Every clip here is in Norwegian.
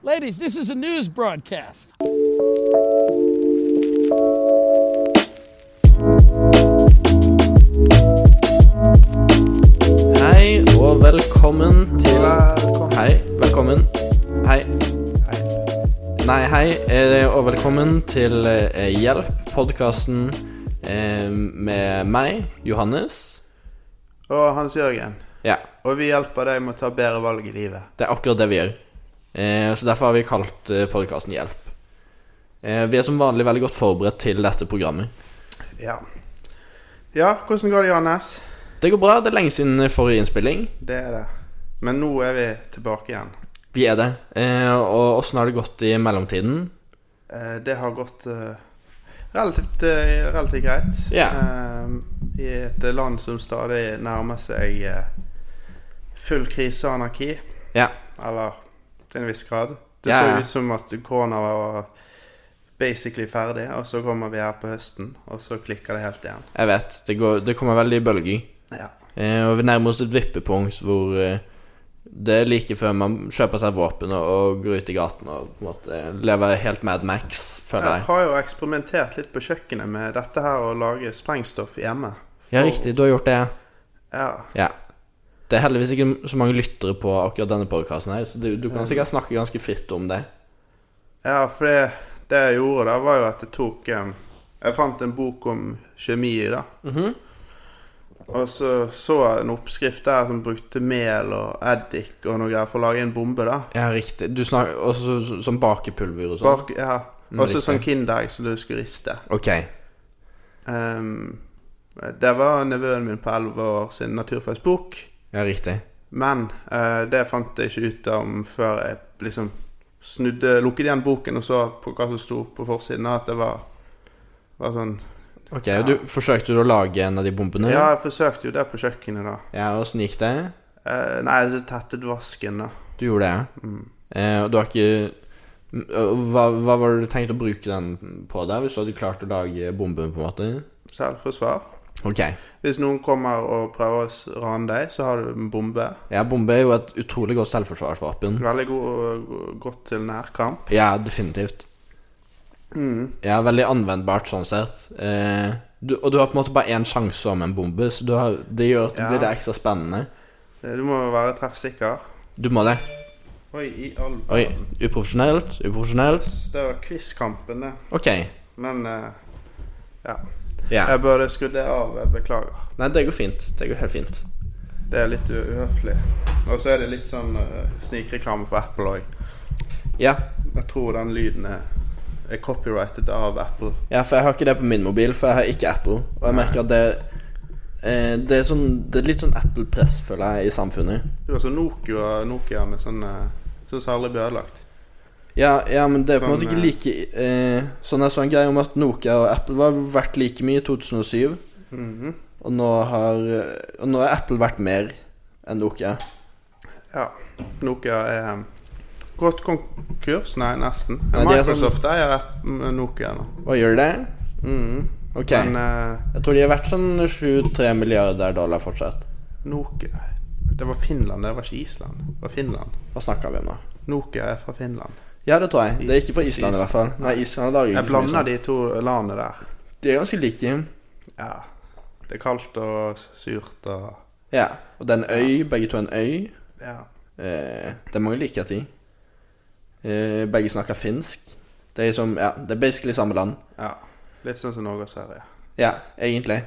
Ladies, this is a news broadcast. Hei og velkommen til Hei, velkommen. Hei. Nei, hei eh, og velkommen til eh, Hjelp, podkasten med meg, Johannes. Og Hans Jørgen, Ja, og vi hjelper deg med å ta bedre valg i livet. det er akkurat det vi gjør. Eh, Så derfor har vi kalt podkasten Hjelp. Eh, Vi er som vanlig veldig godt forberedt til dette programmet. Ja. ja, hvordan går det, Johannes? Det går bra. Det er lenge siden forrige innspilling. Det er det. Men nå er vi tilbake igjen. Vi er det. Eh, Og åssen har det gått i mellomtiden? Eh, Det har gått eh, relativt, eh, relativt greit. Ja. Eh, I et land som stadig nærmer seg eh, full krise og anarki. Ja. Eller til en viss grad. Det Ja, ja. så ut som at korona var basically ferdig, og så kommer vi her på høsten, og så klikker det helt igjen. Jeg vet. Det, går, det kommer veldig i bølger. Ja. Eh, og vi nærmer oss et vippepunkt hvor eh, det er like før man kjøper seg våpen og, og går ut i gaten og på en måte lever helt Mad Max, føler Jeg jeg. har jo eksperimentert litt på kjøkkenet med dette her å lage sprengstoff hjemme. Ja, riktig. Du har gjort det. Ja. Ja. Det er heldigvis ikke så mange lyttere på akkurat denne podkasten her, så du, du kan sikkert snakke ganske fritt om det. ja, for det, det jeg gjorde da, var jo at jeg tok em, Jeg fant en bok om kjemi, da. Mhm. Og så så jeg en oppskrift der som brukte mel og eddik og noe greier for å lage en bombe, da. Ja, riktig. Du snakker også så- som bakepulver og sånn. Bak, ja. Mm, Og så riktig. sånn Kinderegg som du skulle riste. Ok. Em, det var nevøen min på 11 år sin naturfagsbok. Ja, riktig. Men eh, det fant jeg ikke ut om før jeg liksom snudde, lukket igjen boken og så på hva som sto på forsiden, at det var, var sånn Ok, og du Forsøkte du å lage en av de bombene? Ja, jeg forsøkte jo det på kjøkkenet, da. Ja, Åssen gikk det? Eh, nei, så tettet vasken, da. Du gjorde det, Mm. ja. Eh, og du har ikke Mm, og hva, hva var det du tenkte å bruke den på der, hvis du hadde klart å lage bomben, på en måte? Selvforsvar. Ok. Hvis noen kommer og prøver å s- rane deg, så har du en bombe. Ja, bombe er jo et utrolig godt selvforsvarsvåpen. Veldig god, godt til nærkamp. Ja, definitivt. Mm. Ja, veldig anvendbart sånn sett. Eh, du, og du har på en måte bare én sjanse om en bombe, så du har, det gjør at det Ja. blir det ekstra spennende. Du må være treffsikker. Du må det. Oi, i all Oi, verden. uprofesjonelt, uprofesjonelt. Det var quizkampen, det. Ok. Men eh, ja. Ja. Jeg burde skrudd det av. Jeg beklager. Nei, det går fint. Det går helt fint. Det er litt u- uhøflig. Og så er det litt sånn eh, snikreklame for Apple òg. Ja. Jeg tror den lyden er, er copyrighted av Apple. Ja, for jeg har ikke det på min mobil, for jeg har ikke Apple. Og jeg merker at det eh, Det er, sånn, det er litt sånn Apple-press, føler jeg, i samfunnet. Det var sånn Nokia, Nokia med sånn eh, Sånn som aldri ble ødelagt. Ja, ja, men det er på en Sånn, måte ikke like eh, Sånn er sånn greie om at Nokia og Apple var verdt like mye i 2007, Mhm. og nå har eh, Og nå har Apple vært mer enn Nokia. Ja. Nokia er eh, gått konkurs. Nei, nesten. Nei, de er sånn- Microsoft eier App- m- Nokia nå. Hva gjør det? Mhm. Ok. Men eh, Jeg tror de har vært sånn 7-3 milliarder dollar fortsatt. Nokia Det var Finland, det var ikke Island. Det var Finland. Hva snakker vi om nå? Nokia er fra Finland. Ja, det tror jeg. Det er ikke fra Island, i hvert fall. Nei, Island lager Jeg ikke så mye blander sånt. de to landene der. De er ganske like. Ja. Det er kaldt og surt og Ja. Og det er en øy. Begge to er en øy. Ja. Eh, det er mange likheter i. Eh, begge snakker finsk. Det er liksom, ja, det er basically samme land. ja. Litt sånn som Norge og Sverige. Ja, egentlig.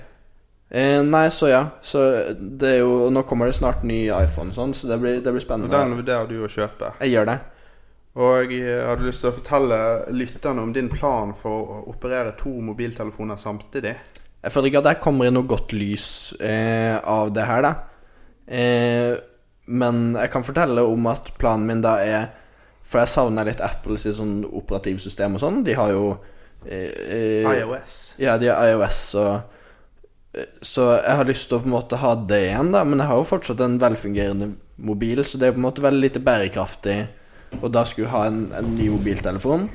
Eh, nei, så ja. Så det er jo, og nå kommer det snart ny iPhone, og sånn, så det blir, det blir Og spennende. den vurderer du å kjøpe. Jeg gjør det. Og jeg hadde lyst til å fortelle lytterne om din plan for å operere to mobiltelefoner samtidig. Jeg føler ikke at jeg kommer i noe godt lys eh, av det her, da. Eh, men jeg kan fortelle om at planen min da er For jeg savner litt Apples sånn operativsystem og sånn. De har jo eh, eh, IOS. Ja, de har iOS og Så jeg har lyst til å på en måte ha det igjen, da. Men jeg har jo fortsatt en velfungerende mobil, så det er på en måte veldig lite bærekraftig Og da skulle jeg ha en, en ny mobiltelefon.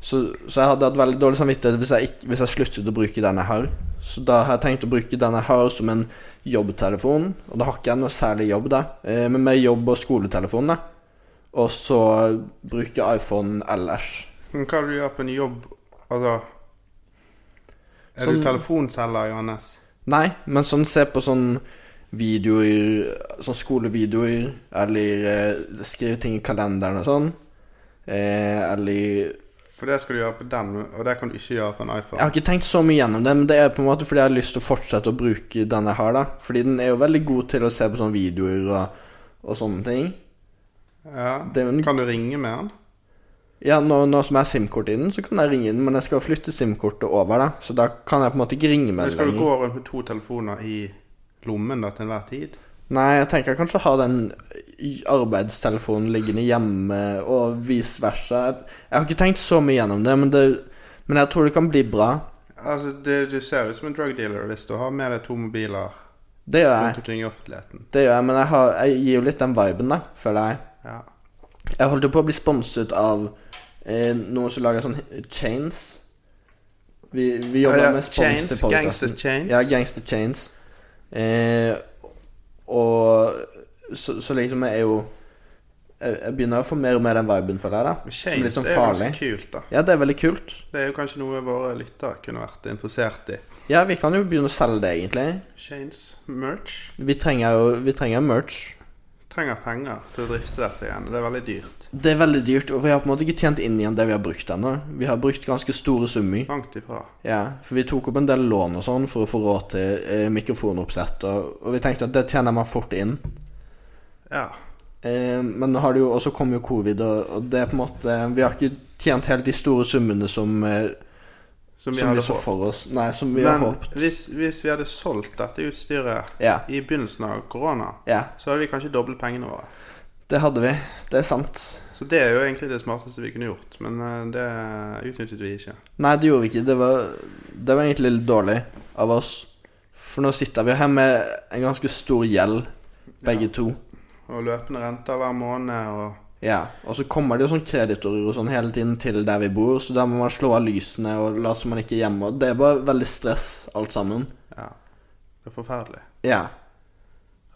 Så, så jeg hadde hatt veldig dårlig samvittighet hvis jeg, ikke, hvis jeg sluttet å bruke denne her. Så da har jeg tenkt å bruke denne her som en jobbtelefon, og da har ikke jeg noe særlig jobb, da. Eh, Men mer jobb- og skoletelefon, da. og så bruke iPhone ellers. Men hva du gjør på en jobb Altså Er Sånn- du telefonselger, Johannes? Nei, men sånn se på sånn videoer Sånn skolevideoer, eller eh, skrive ting i kalenderen og sånn. Eh, eller For det skal du gjøre på den, og det kan du ikke gjøre på en Jeg iPhone. har ikke tenkt så mye gjennom det, men det er på en måte fordi jeg har lyst til å fortsette å bruke den jeg har, da. Fordi den er jo veldig god til å se på sånne videoer og, og sånne ting. Ja. Det er jo en- Kan du ringe med den? Ja, nå, nå som jeg har SIM-kort i den, så kan jeg ringe den, men jeg skal flytte SIM-kortet over, da. Så da kan jeg på en måte ikke ringe med Men den skal du lenger. gå rundt med to telefoner i lommen da til enhver tid? Nei, jeg tenker jeg kanskje ha den i- arbeidstelefonen liggende hjemme, og vice versa. Jeg- Jeg har ikke tenkt så mye gjennom det, men, det, men jeg tror det kan bli bra. Altså, det, Du ser ut som en drug dealer hvis du har med deg to mobiler Det gjør rundt jeg, omkring i offentligheten. det gjør jeg men jeg, har, jeg gir jo litt den viben, da, føler jeg. Ja. Jeg holdt jo på å bli sponset av eh, noen som lager sånn hi- chains. Vi, vi jobber Ja, ja, med spons chains, til podcasten. gangster chains. Ja, Gangster Chains. Eh, og så, så liksom jeg er jo jeg, jeg begynner å få mer og mer den viben for deg, da. Som er Chains litt sånn er jo ganske farlig. kult, da. Ja, det er veldig kult. Det er jo kanskje noe våre lyttere kunne vært interessert i. Ja, vi kan jo begynne å selge det, egentlig. Chains merch Vi trenger jo vi trenger merch. trenger penger til å drifte dette igjen. og Det er veldig dyrt. Det er veldig dyrt, og vi har på en måte ikke tjent inn igjen det vi har brukt ennå. Vi har brukt ganske store summer. Langt ifra. Ja, for vi tok opp en del lån og sånn for å få råd til eh, mikrofonoppsett, og, og vi tenkte at det tjener man fort inn. Ja. Eh, men nå har det jo, og så kom jo covid, og, og det er på en måte Vi har ikke tjent helt de store summene som, eh, Som som vi vi hadde så håpet. for oss. Nei, som vi har Men håpet. hvis, hvis vi hadde solgt dette utstyret Ja. i begynnelsen av korona, Ja, så hadde vi kanskje doblet pengene våre. det hadde vi. Det er sant. Så det er jo egentlig det smarteste vi kunne gjort, men eh, det utnyttet vi ikke. Nei, det gjorde vi ikke. Det var, det var egentlig litt dårlig av oss. For nå sitter vi her med en ganske stor gjeld, begge to. Og løpende renter hver måned og Ja, og så kommer det jo sånn kreditorer og sånn hele tiden til der vi bor, så da må man slå av lysene og late som man ikke er hjemme. og Det er bare veldig stress, alt sammen. Ja. Det er forferdelig. Ja.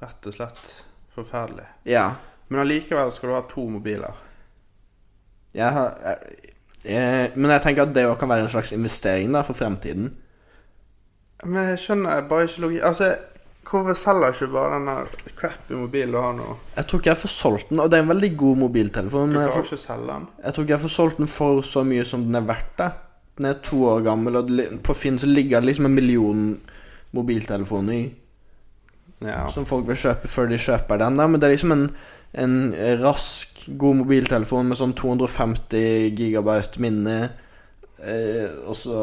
Rett og slett forferdelig. Ja. Men allikevel skal du ha to mobiler. Jeg har jeg, jeg, Men jeg tenker at det òg kan være en slags investering da, for fremtiden. Men jeg skjønner bare ikke logi... Altså, hvorfor selger ikke bare denne crappy mobilen du har nå? Jeg tror ikke jeg får solgt den, og det er en veldig god mobiltelefon, Du men jeg, klarer får, ikke å selge den. jeg tror ikke jeg får solgt den for så mye som den er verdt. da Den er to år gammel, og det li- på Finn så ligger det liksom en million mobiltelefoner. Ja. som folk vil kjøpe før de kjøper den. Da. Men det er liksom en, en rask, god mobiltelefon med sånn 250 gigabyte minne. Eh, og så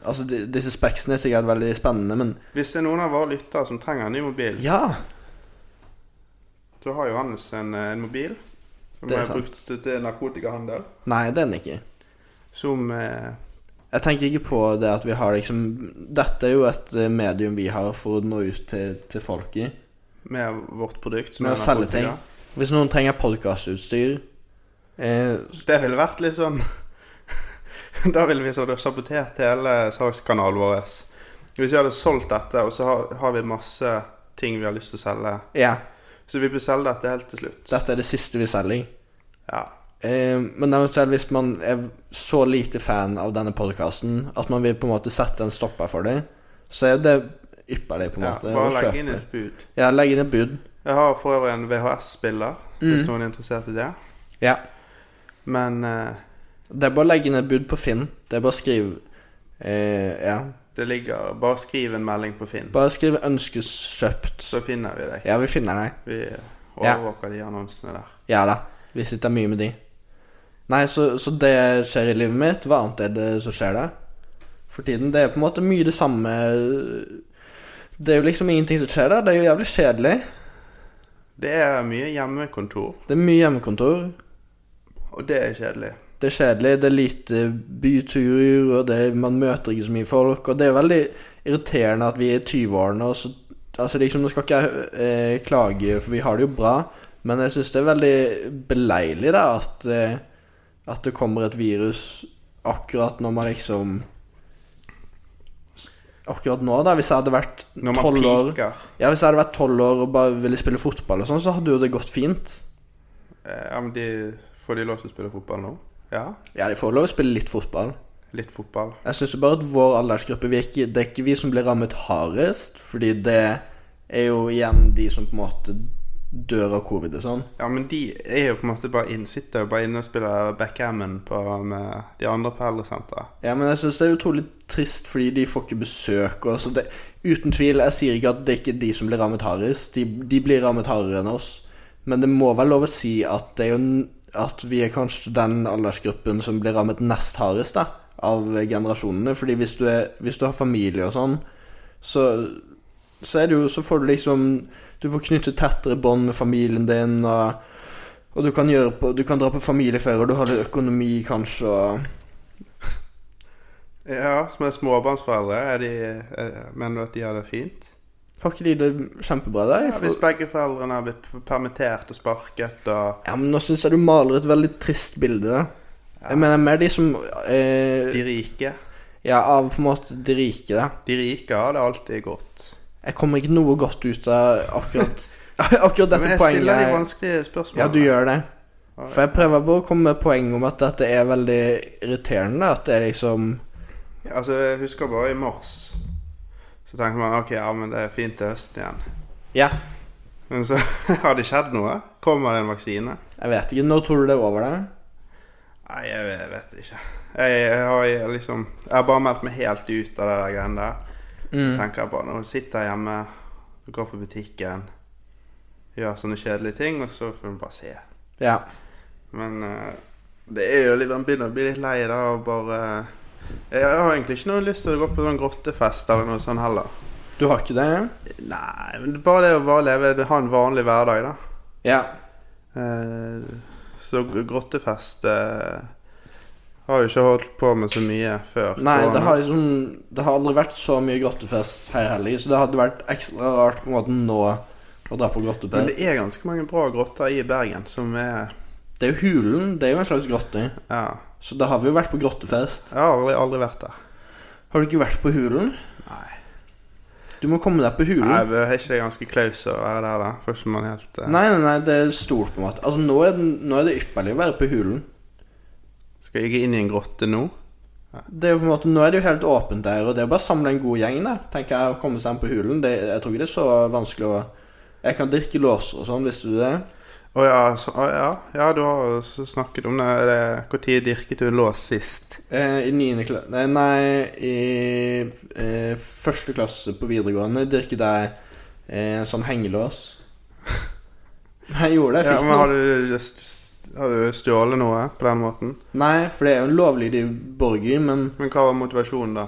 Altså, di- disse speksene er sikkert veldig spennende, men Hvis det er noen av våre lyttere som trenger en ny mobil, ja! så har Johannes en, eh, en mobil som Det er er sant. brukt til narkotikahandel, Nei, det er den ikke. som eh, Jeg tenker ikke på det at vi har liksom Dette er jo et eh, medium vi har for å nå ut til, til folket. med vårt produkt som Med å er selge ting. narkotika. Hvis noen trenger podkastutstyr eh, Det ville vært litt sånn Da ville vi sånn sabotert hele salgskanalen vår. Hvis vi hadde solgt dette, og så har, har vi masse ting vi har lyst til å selge Ja, Så vi bør selge dette helt til slutt. dette er det siste vi selger. Ja. Eh, men eventuelt hvis man er så lite fan av denne podkasten at man vil på en måte sette en stopper for det, så er det ypperlig på en ja. måte Bare å legge kjøpe. inn et bud. Ja, legge inn et bud. Jeg har for øvrig en VHS-spiller, Mm. hvis noen er interessert i det. Ja. Men eh, Det er bare å legge inn et bud på Finn. Det er bare å skrive eh, Ja. det ligger Bare skriv en melding på Finn, Bare skriv 'ønskes kjøpt'. så finner vi deg. Ja, vi finner deg. Vi overvåker de annonsene der. Ja da. Vi sitter mye med de. Nei, så, så det skjer i livet mitt. Hva annet er det som skjer da? For tiden. Det er på en måte mye det samme Det er jo liksom ingenting som skjer der. Det er jo jævlig kjedelig. Det er mye hjemmekontor, Det er mye hjemmekontor. og det er kjedelig. Det er kjedelig. Det er lite byturer, og det er, man møter ikke så mye folk. Og det er veldig irriterende at vi er i 20-årene, og så Altså liksom, Nå skal ikke jeg eh, klage, for vi har det jo bra, men jeg syns det er veldig beleilig da at, eh, at det kommer et virus akkurat når man liksom Akkurat nå, da. Hvis jeg hadde vært Når man tolv år piker. Ja, hvis jeg hadde vært 12 år og bare ville spille fotball og sånn, så hadde jo det gått fint. eh, ja, men de, Får de lov til å spille fotball nå? Ja, Ja, de får lov å spille litt fotball. litt fotball. Jeg syns bare at vår aldersgruppe vi er ikke, Det er ikke vi som blir rammet hardest, fordi det er jo igjen de som på en måte dør av covid og sånn. Ja, men de er jo på en måte bare inn, sitter jo bare inne og spiller backgammon på, med de andre på eldresenteret. Ja, men jeg syns det er utrolig trist fordi de får ikke besøk og sånt. Uten tvil, jeg sier ikke at det er ikke de som blir rammet hardest. De, de blir rammet hardere enn oss. Men det må være lov å si at det er jo n- at vi er kanskje den aldersgruppen som blir rammet nest hardest da, av generasjonene. Fordi hvis du, er, hvis du har familie og sånn, så, så er det jo Så får du liksom Du får knytte tettere bånd med familien din, og, og du, kan gjøre på, du kan dra på familieferie, og du har litt økonomi kanskje, og Ja, som er småbarnsforeldre, er de, er, mener du at de har det fint? Har ikke de det kjempebra der? Ja, hvis begge foreldrene har blitt permittert og sparket og Ja, men nå syns jeg du maler et veldig trist bilde. da. Jeg mener mer de som eh, De rike Ja, av på en måte de rike, da. De rike har det alltid godt. Jeg kommer ikke noe godt ut av akkurat Akkurat Men dette jeg poenget. stiller de her. vanskelige spørsmålene. Ja, du gjør det. For jeg prøver bare å komme med poeng om at dette er veldig irriterende. At det er liksom Altså, jeg husker bare i mars Så tenkte man ok, ja, men det er fint til høsten igjen. Ja. Men så har det skjedd noe. Kommer det en vaksine? Jeg vet ikke. Når tror du det er over, da? Nei, jeg vet, jeg vet ikke. Jeg, jeg har jeg liksom Jeg har bare meldt meg helt ut av det der greiene der. Tenker jeg bare nå sitter jeg hjemme, går på butikken, gjør sånne kjedelige ting, og så får vi bare se. Ja. Men eh, det er jo litt, man begynner å bli litt lei da og bare eh, Jeg har egentlig ikke noe lyst til å gå på sånn grottefest eller noe sånt heller. Du har ikke det? Nei, men det er bare det å bare leve det- ha en vanlig hverdag, da. Ja. Eh, Så gr- grottefest eh, har jo ikke holdt på med så mye før. Nei, det korona. har liksom Det har aldri vært så mye grottefest her heller, så det hadde vært ekstra rart på en måte nå å dra på Men grottefest. det er ganske mange bra grotter i Bergen som er Det er jo Hulen. Det er jo en slags grotte. Ja. Så da har vi jo vært på grottefest. Jeg har aldri, aldri vært der. Har du ikke vært på Hulen? Nei. Du må komme deg på Hulen. Nei, Nei, men Er ikke det ganske klaus å være der, da? Får ikke man helt eh, nei, nei, det er stort, på en måte. Altså, nå er, den, nå er det ypperlig å være på Hulen. Skal jeg ikke inn i en grotte nå? Det er jo på en måte, Nå er det jo helt åpent der, og det er bare å samle en god gjeng, da. Tenker jeg, å komme seg inn på Hulen. Det, jeg tror ikke det er så vanskelig å Jeg kan dirke låser og sånn, visste du det? Å ja, så, å, ja. ja, du har jo s- snakket om det. Er det Når dirket du en lås sist? Eh, I niende klasse Nei, nei i eh, første klasse på videregående dirket jeg eh, en sånn hengelås. Jeg gjorde det. Jeg Ja, fikk men noe. har du, st- har du stjålet noe på den måten? Nei, for det er jo en lovlydig borger, men Men hva var motivasjonen, da?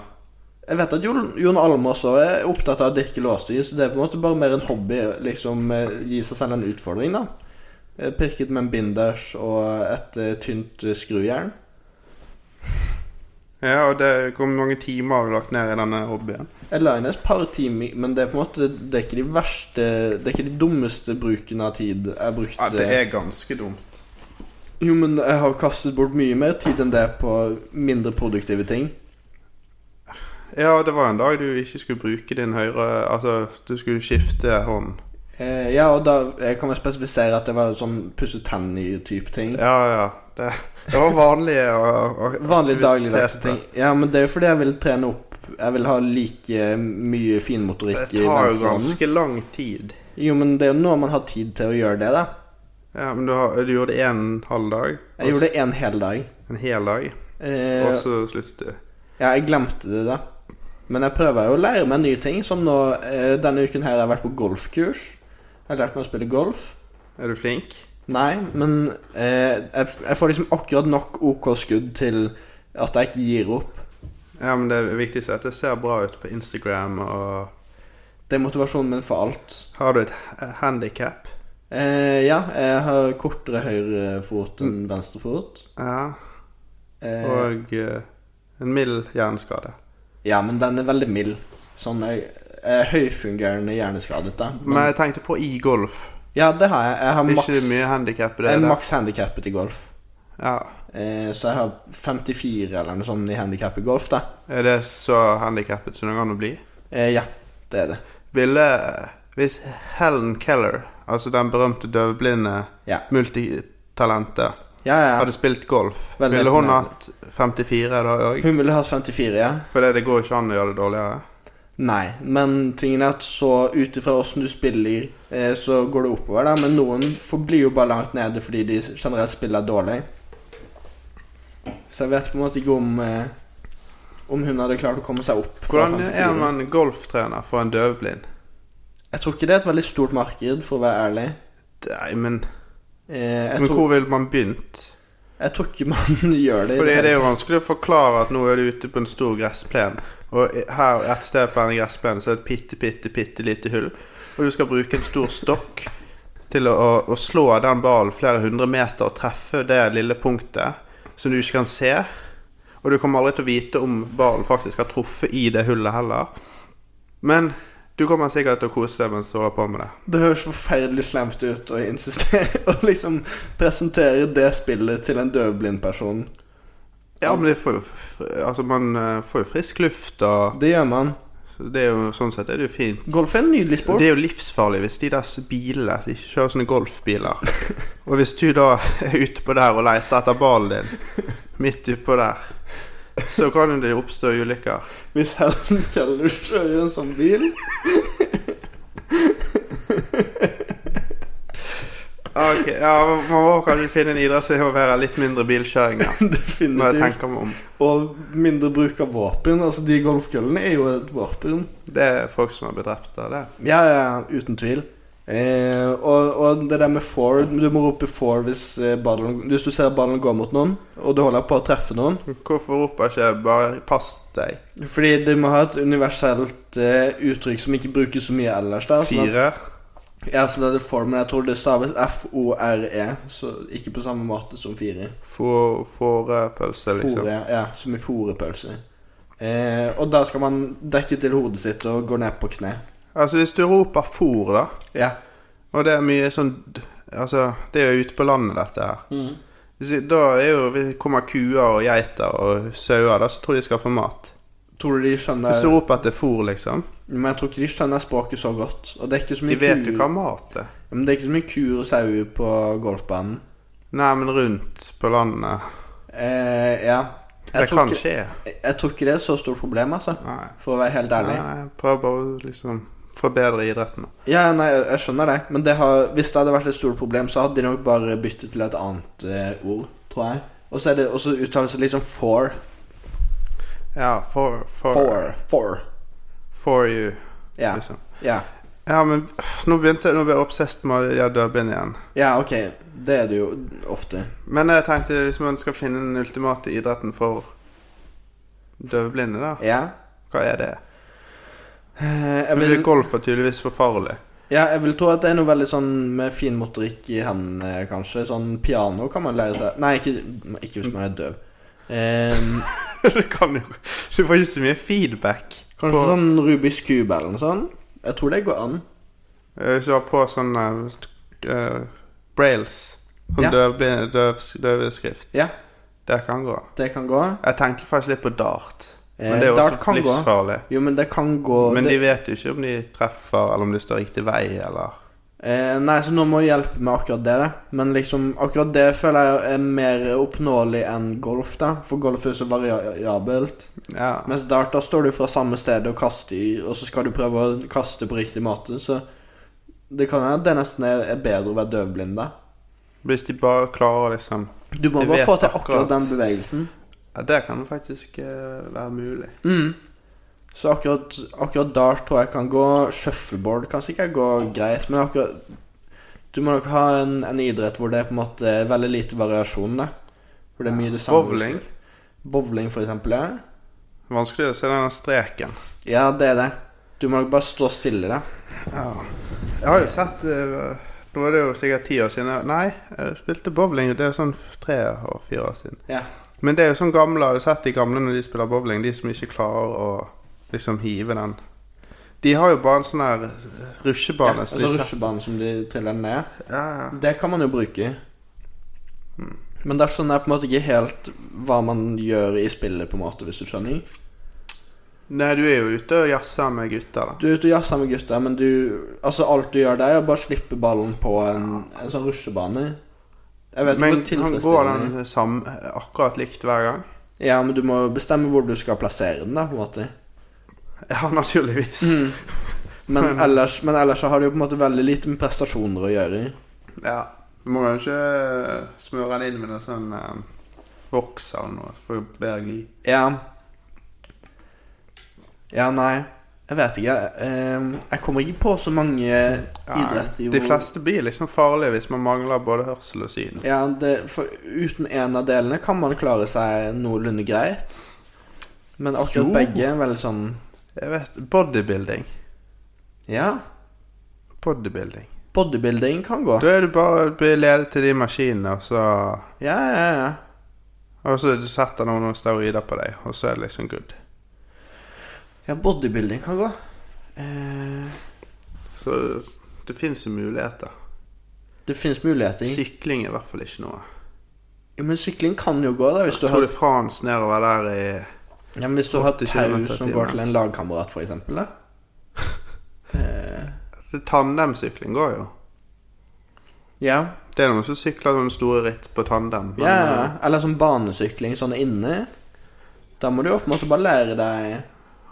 jeg vet at Jon, Jon Almaas også er opptatt av å dirke låsdyr, så det er på en måte bare mer en hobby. Liksom eh, Gi seg selv en utfordring, da. Jeg Pirket med en binders og et eh, tynt eh, skrujern. Ja, og det, Hvor mange timer har du lagt ned i denne hobbyen? Jeg la inn et par timer, men det er på en måte Det er ikke de verste Det er ikke de dummeste brukene av tid jeg brukte. er ganske dumt. Jo, men jeg har kastet bort mye mer tid enn det på mindre produktive ting. Ja, det var en dag du ikke skulle bruke din høyre Altså, du skulle skifte hånd. Eh, ja, og da jeg kan jeg spesifisere at det var sånn pusse tenner-type ting. Ja, ja. Det, det var vanlige og, og Vanlig dagligdags aktiviteter. ting. Ja, men det er jo fordi jeg vil trene opp Jeg vil ha like mye finmotorikk Det i tar jo venstrehånden. ganske lang tid. Jo, men det er jo nå man har tid til å gjøre det, da. Ja, men du, har, du gjorde det en halv dag. Jeg gjorde det en hel dag. En hel dag, Eh, og så sluttet du. Ja, jeg glemte det, da. Men jeg prøver jo å lære meg nye ting, som nå eh, Denne uken her har jeg vært på golfkurs. Jeg har lært meg å spille golf. Er du flink? Nei, men eh, jeg, jeg får liksom akkurat nok OK skudd til at jeg ikke gir opp. Ja, men det viktigste er at det ser bra ut på Instagram, og Det er motivasjonen min for alt. Har du et handikap? Eh, ja, jeg har kortere høyrefot enn venstrefot. Ja. Eh, Mm. Og eh, en mild hjerneskade. ja, men den er veldig mild. Sånn jeg, jeg er høyfungerende hjerneskadet, da. Men Men, jeg tenkte på i golf. ja, det har jeg. Jeg har Det er maks, ikke mye handikap i det. jeg er der. maks handikappet i golf. Ja. Eh, så jeg har 54 eller noe sånt i handikap i golf, da. Er det så handikappet som det kan bli? Eh, ja, det er det. Ville eh, Hvis Helen Keller, altså den berømte døvblinde Ja. multi, talentet Ja, ja. hadde spilt golf, Veldig ville hun imponerende. hatt 54 da òg? Hun ville ha 54, ja. Fordi det går ikke an å gjøre det dårligere? Nei, men tingen er at så ut ifra åssen du spiller, eh, så går det oppover, da. Men noen forblir jo bare langt nede fordi de generelt spiller dårlig. Så jeg vet på en måte ikke om eh, Om hun hadde klart å komme seg opp. fra Hvordan 54. er man golftrener for en døvblind? Jeg tror ikke det er et veldig stort marked, for å være ærlig. Nei, men, Eh, jeg, men tror, hvor ville man begynt? jeg tror ikke man gjør det. i Fordi hele det er jo tatt. vanskelig å forklare at nå er du ute på en stor gressplen, og her et sted på denne gressplenen så er det et bitte, bitte, bitte lite hull, og du skal bruke en stor stokk til å, å, å slå den ballen flere hundre meter og treffe det lille punktet som du ikke kan se, og du kommer aldri til å vite om ballen faktisk har truffet i det hullet heller. Men du kommer sikkert til å kose deg mens du holder på med det. Det høres forferdelig slemt ut å insistere og liksom presentere det spillet til en døvblind person. Ja, men det får jo, altså man eh, får jo frisk luft, og Det gjør man. det er jo, sånn sett er det jo fint. Golf er en nydelig sport. Det er jo livsfarlig hvis de der bilene De kjører sånne golfbiler. Og hvis du da er ute på der og leter etter ballen din midt utpå der, så kan jo det oppstå ulykker. Hvis Helen Kjeller kjører en sånn bil Ok, ja, Man må kanskje finne en idrett som involverer litt mindre bilkjøring. ja, Når jeg Definitivt. tenker meg om. Og mindre bruk av våpen. Altså, de golfkøllene er jo et våpen. Det er folk som har blitt drept av det. Ja, ja, uten tvil. Eh, og, og det der med four Du må rope four hvis, eh, ballen, hvis du ser ballen gå mot noen, og du holder på å treffe noen. Hvorfor roper ikke jeg bare 'pass deg'? Fordi det må ha et universelt eh, uttrykk som ikke brukes så mye ellers. Der, sånn at- Fire? Ja, så det er det for, men jeg tror det staves F-O-R-E, E, så ikke på samme måte som fire. Få- Fårepølse, liksom. Fore, ja, som i forepølse. Eh, og da skal man dekke til hodet sitt og gå ned på kne. Altså, hvis du roper 'fòr', da Ja. Og det er mye sånn Altså, det er jo ute på landet, dette her. Mm. Hvis- Da er jo, hvis det kommer kuer og geiter og sauer, da, så tror de skal få mat. Tror du de skjønner Hvis du roper etter fôr, liksom Men jeg tror ikke de skjønner språket så godt. Og det er ikke så De mye vet jo kuer- hva mat er. Ja, Men det er ikke så mye kuer og sauer på golfbanen. Nei, men rundt på landet Eh, ja. Det Jeg tror, kan ikke, skje. jeg tror ikke det er så stort problem, altså. Nei. For å være helt ærlig. Nei, jeg prøver bare å liksom forbedre idretten. Ja, nei, jeg jeg skjønner det. Men det har, hvis det hadde vært et stort problem, så hadde de nok bare byttet til et annet eh, ord, tror jeg. Og så er det- og så uttales det liksom for. Ja, for For, For. For. for you, Ja. liksom. Ja, Ja, men øh, nå begynte jeg, nå ble jeg obsessed med å døpe inn igjen. ja ok. Det er det jo ofte. Men jeg tenkte hvis man skal finne den ultimate idretten for døvblinde, da Ja. Hva er det? Eh, Jeg Fordi vil, golf er tydeligvis for farlig. ja, jeg vil tro at det er noe veldig sånn med fin motorikk i hendene, kanskje. Sånn piano kan man lære seg Nei, ikke, ikke hvis man er døv. Ehm, det kan jo Du får ikke så mye feedback. kanskje på, sånn Rubiks kube eller noe sånt. Jeg tror det går an. Eh, Hvis du har på sånn eh, brails, sånn Ja. døv, døv, døveskrift, Ja, det kan gå. det kan gå. Jeg tenkte faktisk litt på dart, Eh, men det er jo dart også kan gå. livsfarlig. Jo, men det kan gå Men det- de vet jo ikke om de treffer, eller om de står riktig vei, eller Eh, nei, så noen må hjelpe med akkurat det. da. Men liksom, akkurat det føler jeg er mer oppnåelig enn golf, da. For golf er så variabelt. Ja. Mens dart, da står du fra samme sted og kaster, i, og så skal du prøve å kaste på riktig måte, så det kan hende at det nesten er, er bedre å være døvblind, da. Hvis de bare klarer liksom Du må Jeg bare vet få til akkurat akkurat. den bevegelsen. ja, Det kan faktisk eh, være mulig. Mm. Så akkurat, akkurat dart tror jeg kan gå. Shuffleboard kan sikkert gå greit, men akkurat Du må nok ha en, en idrett hvor det er på en måte veldig lite variasjon, da. Hvor det er mye det samme. Bowling. Bowling, for eksempel, ja. Vanskelig å se denne streken. Ja, det er det. Du må nok bare stå stille, da. Ja. Jeg har jo sett eh, Nå er det jo sikkert ti år siden. jeg- Nei, jeg spilte bowling. Det er jo sånn tre og fire år siden. Ja. Men det er jo sånn gamle Har du sett de gamle når de spiller bowling? De som ikke klarer å liksom hive den. De har jo bare en sånn her Ja, rusjebane. altså som de setter- rusjebanen som de triller ned. ja, Hmm. ja. Det kan man jo bruke. Men da skjønner jeg på en måte ikke helt hva man gjør i spillet, på en måte, hvis du skjønner. Nei, du er jo ute og jazzer med gutter, da. Du er ute og jazzer med gutta, men du Altså, alt du gjør der, er å bare slippe ballen på en, en sånn rusjebane. Jeg vet ikke Men hvor han går tilfredsstillende den samme, eh, akkurat likt hver gang? Ja, men du må bestemme hvor du skal plassere den, da, på en måte. Ja, naturligvis. Mm. Men ellers, men ellers så har det jo på en måte veldig lite med prestasjoner å gjøre. Ja. Du må kanskje smøre den inn med noe sånn eh, voks eller noe, for å bedre gli. Ja. Ja, nei. Jeg vet ikke. eh, Jeg kommer ikke på så mange idretter De fleste blir liksom farlige hvis man mangler både hørsel og syn. Ja, det, for uten en av delene kan man klare seg noenlunde greit. Men akkurat Jo. begge er veldig sånn Jeg vet Bodybuilding. Ja. Bodybuilding. Bodybuilding kan gå. Da er det bare å bli ledet til de maskinene, og så Ja, ja, ja. Og så setter noen noen steroider på deg, og så er det liksom good. Ja, bodybuilding kan gå. Eh, Så det fins jo muligheter. det finnes muligheter. Sykling er i hvert fall ikke noe. Jo, men sykling kan jo gå, da, hvis du Tour har, de France nedover der i ja, men hvis du har 80 tau kilometer i som timen. går til en lagkamerat, for eksempel. Da. Det- Tandemsykling går jo. Ja. Det er noen som sykler sånne store ritt på tandem. men, eh, Ja, ja. Eller sånn banesykling sånn inne. Da må du jo på en måte bare lære deg eh,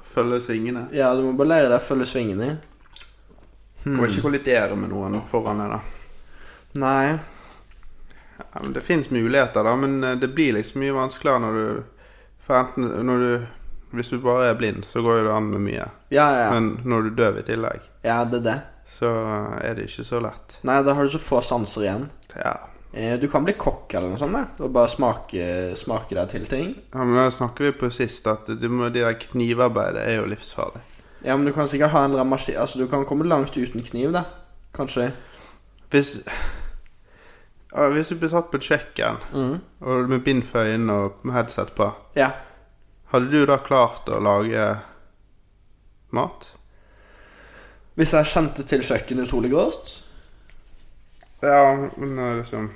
Følge svingene. Ja, du må bare lære deg å følge svingene. Og ikke kollidere med noen foran deg, da. Nei. Ja, men det fins muligheter, da, men eh, det blir liksom mye vanskeligere når du For enten når du Hvis du bare er blind, så går jo det an med mye. Ja, ja. ja. Men når du er døv i tillegg, ja, det er det. så er det ikke så lett. Nei, da har du så få sanser igjen. Ja. Eh, Du kan bli kokk eller noe sånt, da, og bare smake, smake deg til ting. ja men da snakker vi på sist at du må, de der knivarbeidet er jo livsfarlig. Ja, men du kan sikkert ha en eller annen maskin Altså, du kan komme langt uten kniv, da. Kanskje. Hvis ja, Hvis du blir satt på et kjøkken Mhm. og med bind for øynene og med headset på, Ja. hadde du da klart å lage mat? Hvis jeg kjente til kjøkkenet utrolig godt Ja, men eh, liksom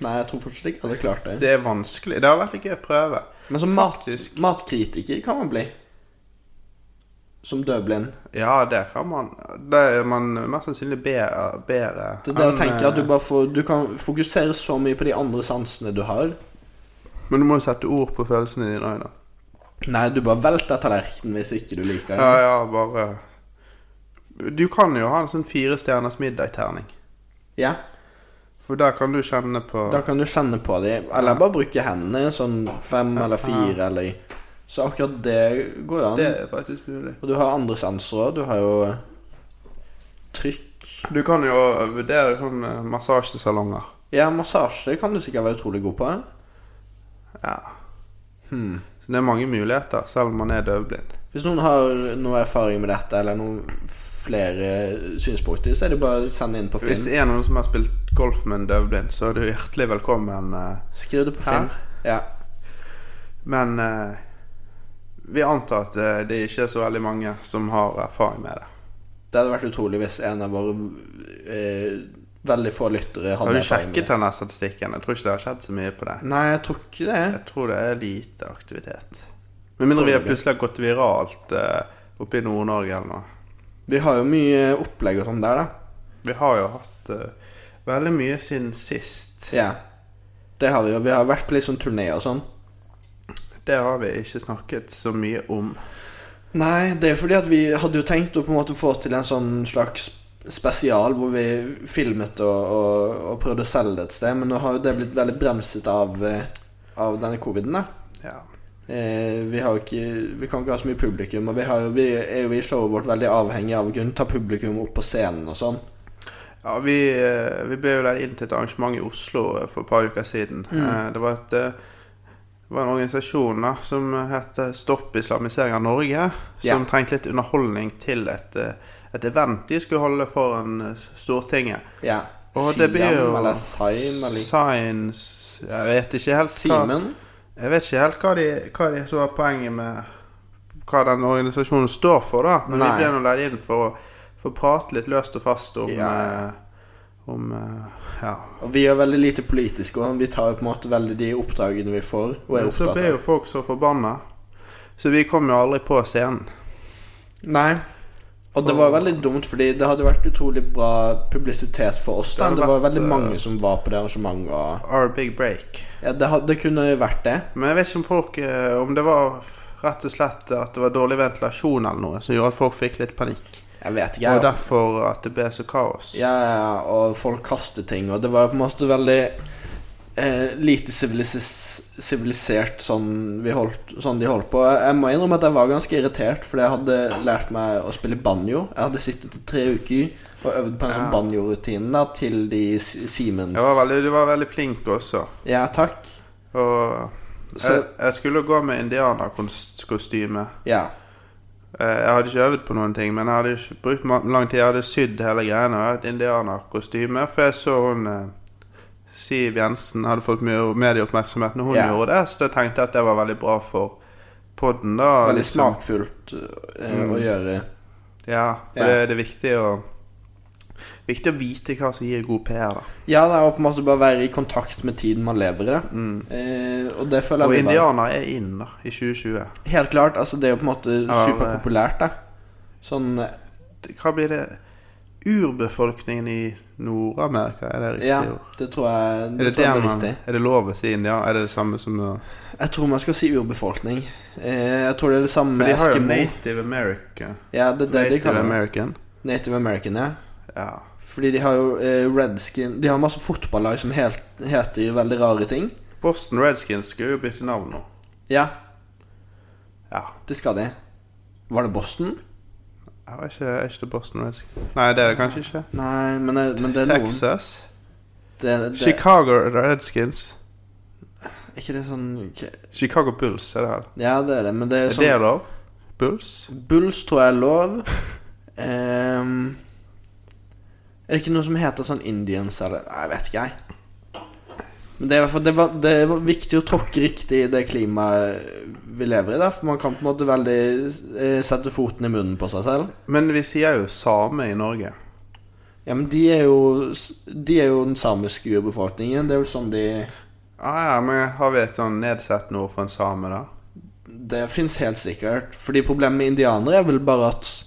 Nei, jeg tror fortsatt ikke jeg hadde klart det. Det er vanskelig. Det har vært litt gøy å prøve. Men som mat, Faktisk. matkritiker kan man bli. Som døvblind. Ja, det kan man. Det er man mest sannsynlig bedre, bedre Det er det å enn, tenke at du eh, bare får Du kan fokusere så mye på de andre sansene du har. eh, Men du må jo sette ord på følelsene dine òg, da. Nei, du bare velter tallerkenen hvis ikke du liker Ja, det. ja, bare Du kan jo ha en sånn fire stjerners middag-terning. Ja, For der kan du kjenne på Da kan du kjenne på de Eller bare bruke hendene, sånn fem eller fire eller Så akkurat det går jo Det an. er faktisk mulig. Og du har andre sanser òg. Du har jo trykk Du kan jo vurdere sånn eh, massasjesalonger. Ja, massasje kan du sikkert være utrolig god på. Ja. Så det er mange muligheter, selv om man er døvblind. Hvis noen har noe erfaring med dette, eller noen flere synspunkter, så er det bare å sende inn på Hvis Finn. det er noen som har spilt golf med en døvblind, så er du hjertelig velkommen. eh, Skriv det på Her? Finn. Ja. Men eh, vi antar at eh, det ikke er så veldig mange som har erfaring med det. Det hadde vært utrolig hvis en av våre eh, veldig få lyttere hadde Har du erfaring med sjekket denne statistikken? Jeg tror ikke det har skjedd så mye på det. det. Nei, jeg tror ikke det. Jeg tror det er lite aktivitet. Med mindre vi har plutselig gått viralt eh, oppe i Nord-Norge eller noe. Vi har jo mye opplegg og sånn der, da. Vi har jo hatt eh, veldig mye siden sist. Ja. Det har vi jo. Vi har vært på litt sånn turné og sånn. Det har vi ikke snakket så mye om. Nei, det er fordi at vi hadde jo tenkt å på en måte få til en sånn slags spesial hvor vi filmet og, og, og prøvde å selge det et sted, men nå har jo det blitt veldig bremset av, eh, av denne coviden, da. Ja. Eh, vi, har jo ikke, vi kan ikke ha så mye publikum, og vi, har jo, vi er jo i showet vårt veldig avhengig av å kunne ta publikum opp på scenen og sånn. Ja, vi, eh, vi ble jo leid inn til et arrangement i Oslo eh, for et par uker siden. Mm. Eh, Det var, et, eh, det var en organisasjon da, som het eh, Stopp islamisering av Norge. Ja. Som trengte litt underholdning til et, eh, et event de skulle holde foran eh, Stortinget. Ja. Og det blir jo Siam, eller Saim, eller Science Jeg vet ikke helt hva, Simen. jeg vet ikke helt hva, de, hva de så var poenget med hva den organisasjonen står for, da. Men Nei. vi ble nå leid inn for å for å prate litt løst og fast om Ja. eh, Om eh, ja. Og vi er veldig lite politiske, og vi tar jo på en måte veldig de oppdragene vi får, og er Men så opptatt ble jo av. folk så forbanna. Så vi kom jo aldri på scenen. Nei. Og det var veldig dumt, fordi det hadde vært utrolig bra publisitet for oss. Da. hadde Det var vært, veldig eh, mange som var på det arrangementet. Og, Our big break. ja, det, hadde, det kunne vært det. Men jeg vet ikke om folk eh, Om det var rett og slett at det var dårlig ventilasjon eller noe som gjorde at folk fikk litt panikk. Jeg vet ikke. Og Jeg, derfor at det ble så kaos. ja, ja, og folk kastet ting, og det var på en måte veldig eh, lite sivilis- sivilisert sånn, vi holdt, sånn de holdt på. Jeg må innrømme at jeg var ganske irritert, fordi jeg hadde lært meg å spille banjo. Jeg hadde sittet i tre uker og øvd på en sånn banjorutine da, til de S- Siemens. Jeg var veldig, du var veldig flink også. Ja, takk. Og jeg, Så- jeg skulle gå med indianerkostyme. Ja. Eh, Jeg hadde ikke øvd på noen ting, men jeg hadde ikke brukt ma- lang tid. Jeg hadde sydd hele greiene. da, Et indianerkostyme. For jeg så hun eh, Siv Jensen hadde fått mye medieoppmerksomhet når hun Ja. gjorde det, så da tenkte jeg at det var veldig bra for podden, da. Veldig liksom. Mm. smakfullt eh, å gjøre. Ja, for Ja. Det, det er viktig å Viktig å vite hva som gir god PR, da. Ja, det er jo på en måte bare å være i kontakt med tiden man lever i. da. Eh, og det føler Mm. Og jeg blir bra. indianer er inn da, i 2020. Helt klart. altså Det er jo på en måte Ja, men- superpopulært. da Sånn eh, Hva blir det Urbefolkningen i Nord-Amerika, er det riktig Ja, ord? det tror jeg Er det, tror det, jeg blir man, riktig. er det lov å si indianer? Er det det samme som å Jeg tror man skal si urbefolkning. Eh, jeg tror det er det samme For med de har jo Eskimo. Native American. Ja, det er det de Native kaller det. American. Native American, ja. Ja. Fordi de har jo eh, redskin De har masse fotballag som helt, heter veldig rare ting. Boston Redskins skulle jo bytte navn nå. Ja, Ja. det skal de. Var det Boston? Jeg vet ikke, er ikke det Boston Redskins? Nei, det er det kanskje ikke. Nei, men, det- men det er noen Texas. det, det, Chicago Redskins. Er ikke det sånn ok, Chicago Bulls er det her. Ja, det er det, men det er Er sånn det lov? Bulls? Bulls tror jeg er lov. Ehm, er det ikke noe som heter sånn Indians eller Nei, Jeg vet ikke, jeg. Men det er, i hvert fall- det, var, det var viktig å tråkke riktig i det klimaet vi lever i, da. For man kan på en måte veldig eh, sette foten i munnen på seg selv. Men vi sier jo same i Norge. Ja, men de er jo De er jo den samiske urbefolkningen. Det er vel sånn de Ah, ja, men har vi et sånn nedsettende ord for en same, da? Det fins helt sikkert. Fordi problemet med indianere er vel bare at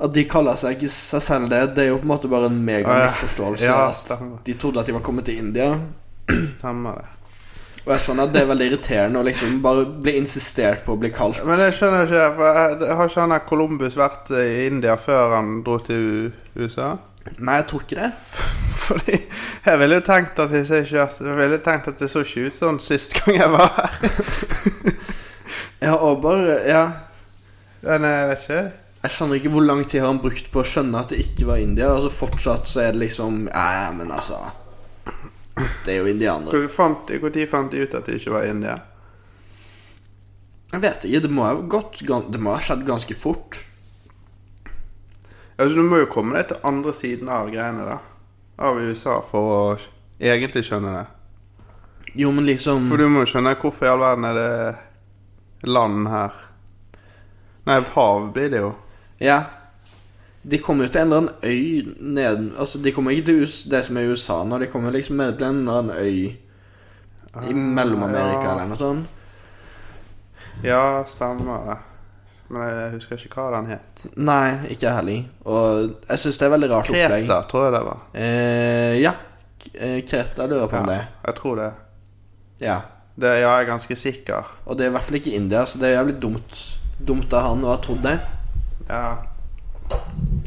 At de kaller seg ikke seg selv det. Det er jo på en måte bare en Ah, Ja, ja. megamisforståelse. Ja, stemmer. at de trodde at de var kommet til India. Stemmer det? Og jeg skjønner at det er veldig irriterende å liksom bare bli insistert på å bli kalt Men jeg skjønner ikke for jeg, jeg Har ikke han her Columbus vært eh, i India før han dro til U- USA? Nei, jeg tror ikke det. Fordi jeg ville jo tenkt at hvis jeg kjørte Jeg ville tenkt at det så ikke ut sånn sist gang jeg var her. Ja, og bare Ja. Men jeg vet ikke. Jeg skjønner ikke hvor lang tid har han brukt på å skjønne at det ikke var India. Og så fortsatt så er det liksom Ja, ja, men altså Det er jo indianere. Hvor fant, hvor tid fant de ut at de ikke var i India? Jeg vet ikke. Det må ha gått gan- Det må ha skjedd ganske fort. Altså, du må jo komme deg til andre siden av greiene, da. Av USA, for å egentlig skjønne det. Jo, men liksom For du må jo skjønne hvorfor i all verden er det land her. Nei, hav blir det jo. Ja. De kommer jo til en eller annen øy neden Altså, de kommer ikke til US, det som er USA nå, de kommer liksom ned til en eller annen øy i Mellom-Amerika Ah, ja. eller noe sånt. Ja, stemmer det. Men jeg husker ikke hva den het. Nei, ikke jeg heller. Og jeg syns det er veldig rart opplegg. Kreta, tror jeg det var. Eh, ja. K- eh, Kreta lurer på om Ja, jeg tror det. det. Ja. det. Ja, jeg er ganske sikker. Og det er i hvert fall ikke India, så det er jævlig dumt Dumt av han å ha trodd det. Ja.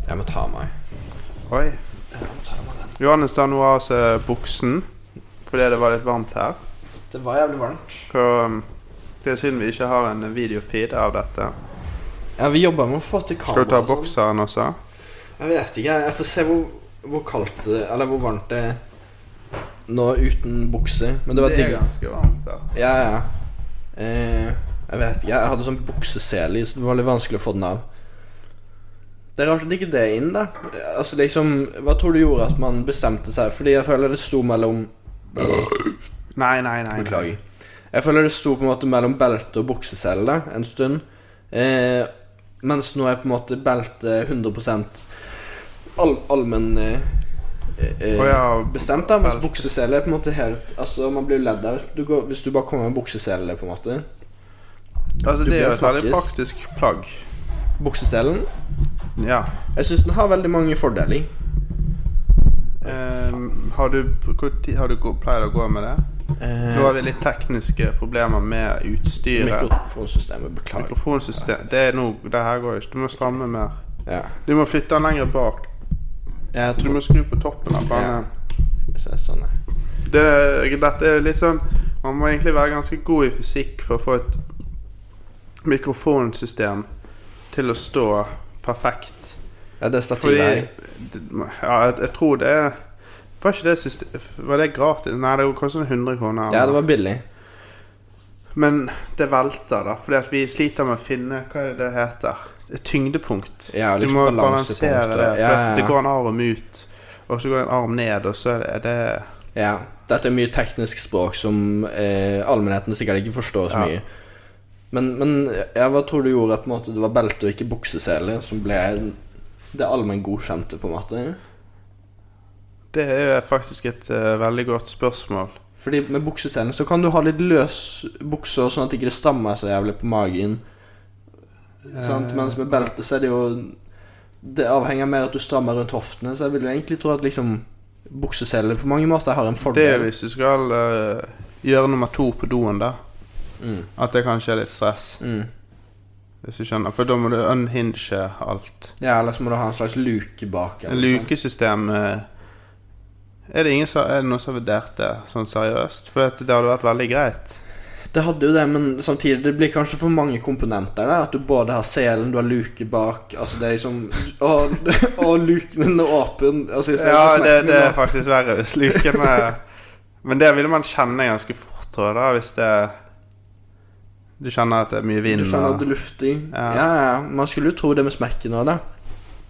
Jeg må ta av meg. Oi. Johannes tar nå av seg buksen fordi det var litt varmt her. Det var jævlig varmt. Så det er synd vi ikke har en videofeed av dette. Ja, vi jobber med å få til kamera. Skal du og ta sånn. bokseren også? Jeg vet ikke. Jeg får se hvor, hvor kaldt det Eller hvor varmt det er nå uten bukse. Men det var digg. ganske varmt her. Ja, ja. Eh, jeg vet ikke. Jeg hadde sånn buksesele i, så det var litt vanskelig å få den av. Det er rart at ikke det er inn, da. Eh, Altså liksom Hva tror du gjorde at man bestemte seg? Fordi jeg føler det sto mellom Nei, nei, nei. Beklager. Jeg føler det sto på en måte mellom belte og buksesele da, en stund. Eh, mens nå er på en måte belte 100 all, allmenn eh, eh, Å ja, bestemt, da, mens belte. buksesele er på en måte helt Altså, man blir jo ledd av hvis du går- hvis du bare kommer med buksesele, på en måte. Altså, Du det blir er jo et veldig snakkes. praktisk plagg. Bukseselen? Ja. Jeg syns den har veldig mange fordeler. Eh, har du, hvor tid- har du gå- pleid å gå med det? Eh, Nå har vi litt tekniske problemer med utstyret. Mikrofonsystemet, beklager. Mikrofonsystem Det er noe, det her går ikke. Du må stramme mer. Ja. Du må flytte den lenger bak. Jeg Du tror må skru på toppen av ja. planen. Skal vi se, sånn, ja. Det, dette er litt sånn Man må egentlig være ganske god i fysikk for å få et mikrofonsystem til å stå perfekt. Ja, det er stativet Fordi her. Ja, jeg, jeg tror det er- Var ikke det system, Var det gratis? Nei, det kostet 100 kroner. Ja, det var billig. Men det velter, da. Fordi at vi sliter med å finne Hva er det det heter? Et tyngdepunkt. Ja, du liksom må balansepunkt, balansere det. og- For ja, ja, at det ja. går en arm ut, og så går en arm ned, og så er det Ja. Dette er mye teknisk språk som eh, allmennheten sikkert ikke forstår så Ja. mye. Men, men ja, hva tror du gjorde at på en måte, det var belte og ikke bukseseler som ble det allmenn godkjente, på en måte? Det er faktisk et eh, veldig godt spørsmål. Fordi med bukseselene så kan du ha litt løs bukser, sånn at det ikke strammer så jævlig på magen. Sant? Eh. Mens med belte så er det jo Det avhenger mer av at du strammer rundt hoftene, så jeg vil jo egentlig tro at liksom bukseseler på mange måter har en Det er fordel. hvis du skal eh, gjøre nummer to på doen, da. Mm. At det kanskje er litt stress, Mm. hvis du skjønner. For da må du unhinge alt. Ja, eller så må du ha en slags luke bak. eller En noe lukesystem eh, Er det ingen som, er det noen som har vurdert det sånn seriøst? For at det hadde vært veldig greit. sånt. Det hadde jo det, men samtidig det blir kanskje for mange komponenter der. At du både har selen, du har luke bak Altså det er liksom Og, og luken er åpen. Altså, jeg ser ikke Ja, det, smerten, det er men- faktisk verre hvis luken er Men det ville man kjenne ganske fort, tror jeg, da, hvis det Du kjenner at det er mye vind. Du skjønner at og- det lufter. Ja. Ja. ja, ja. Man skulle jo tro det med smerken òg, da.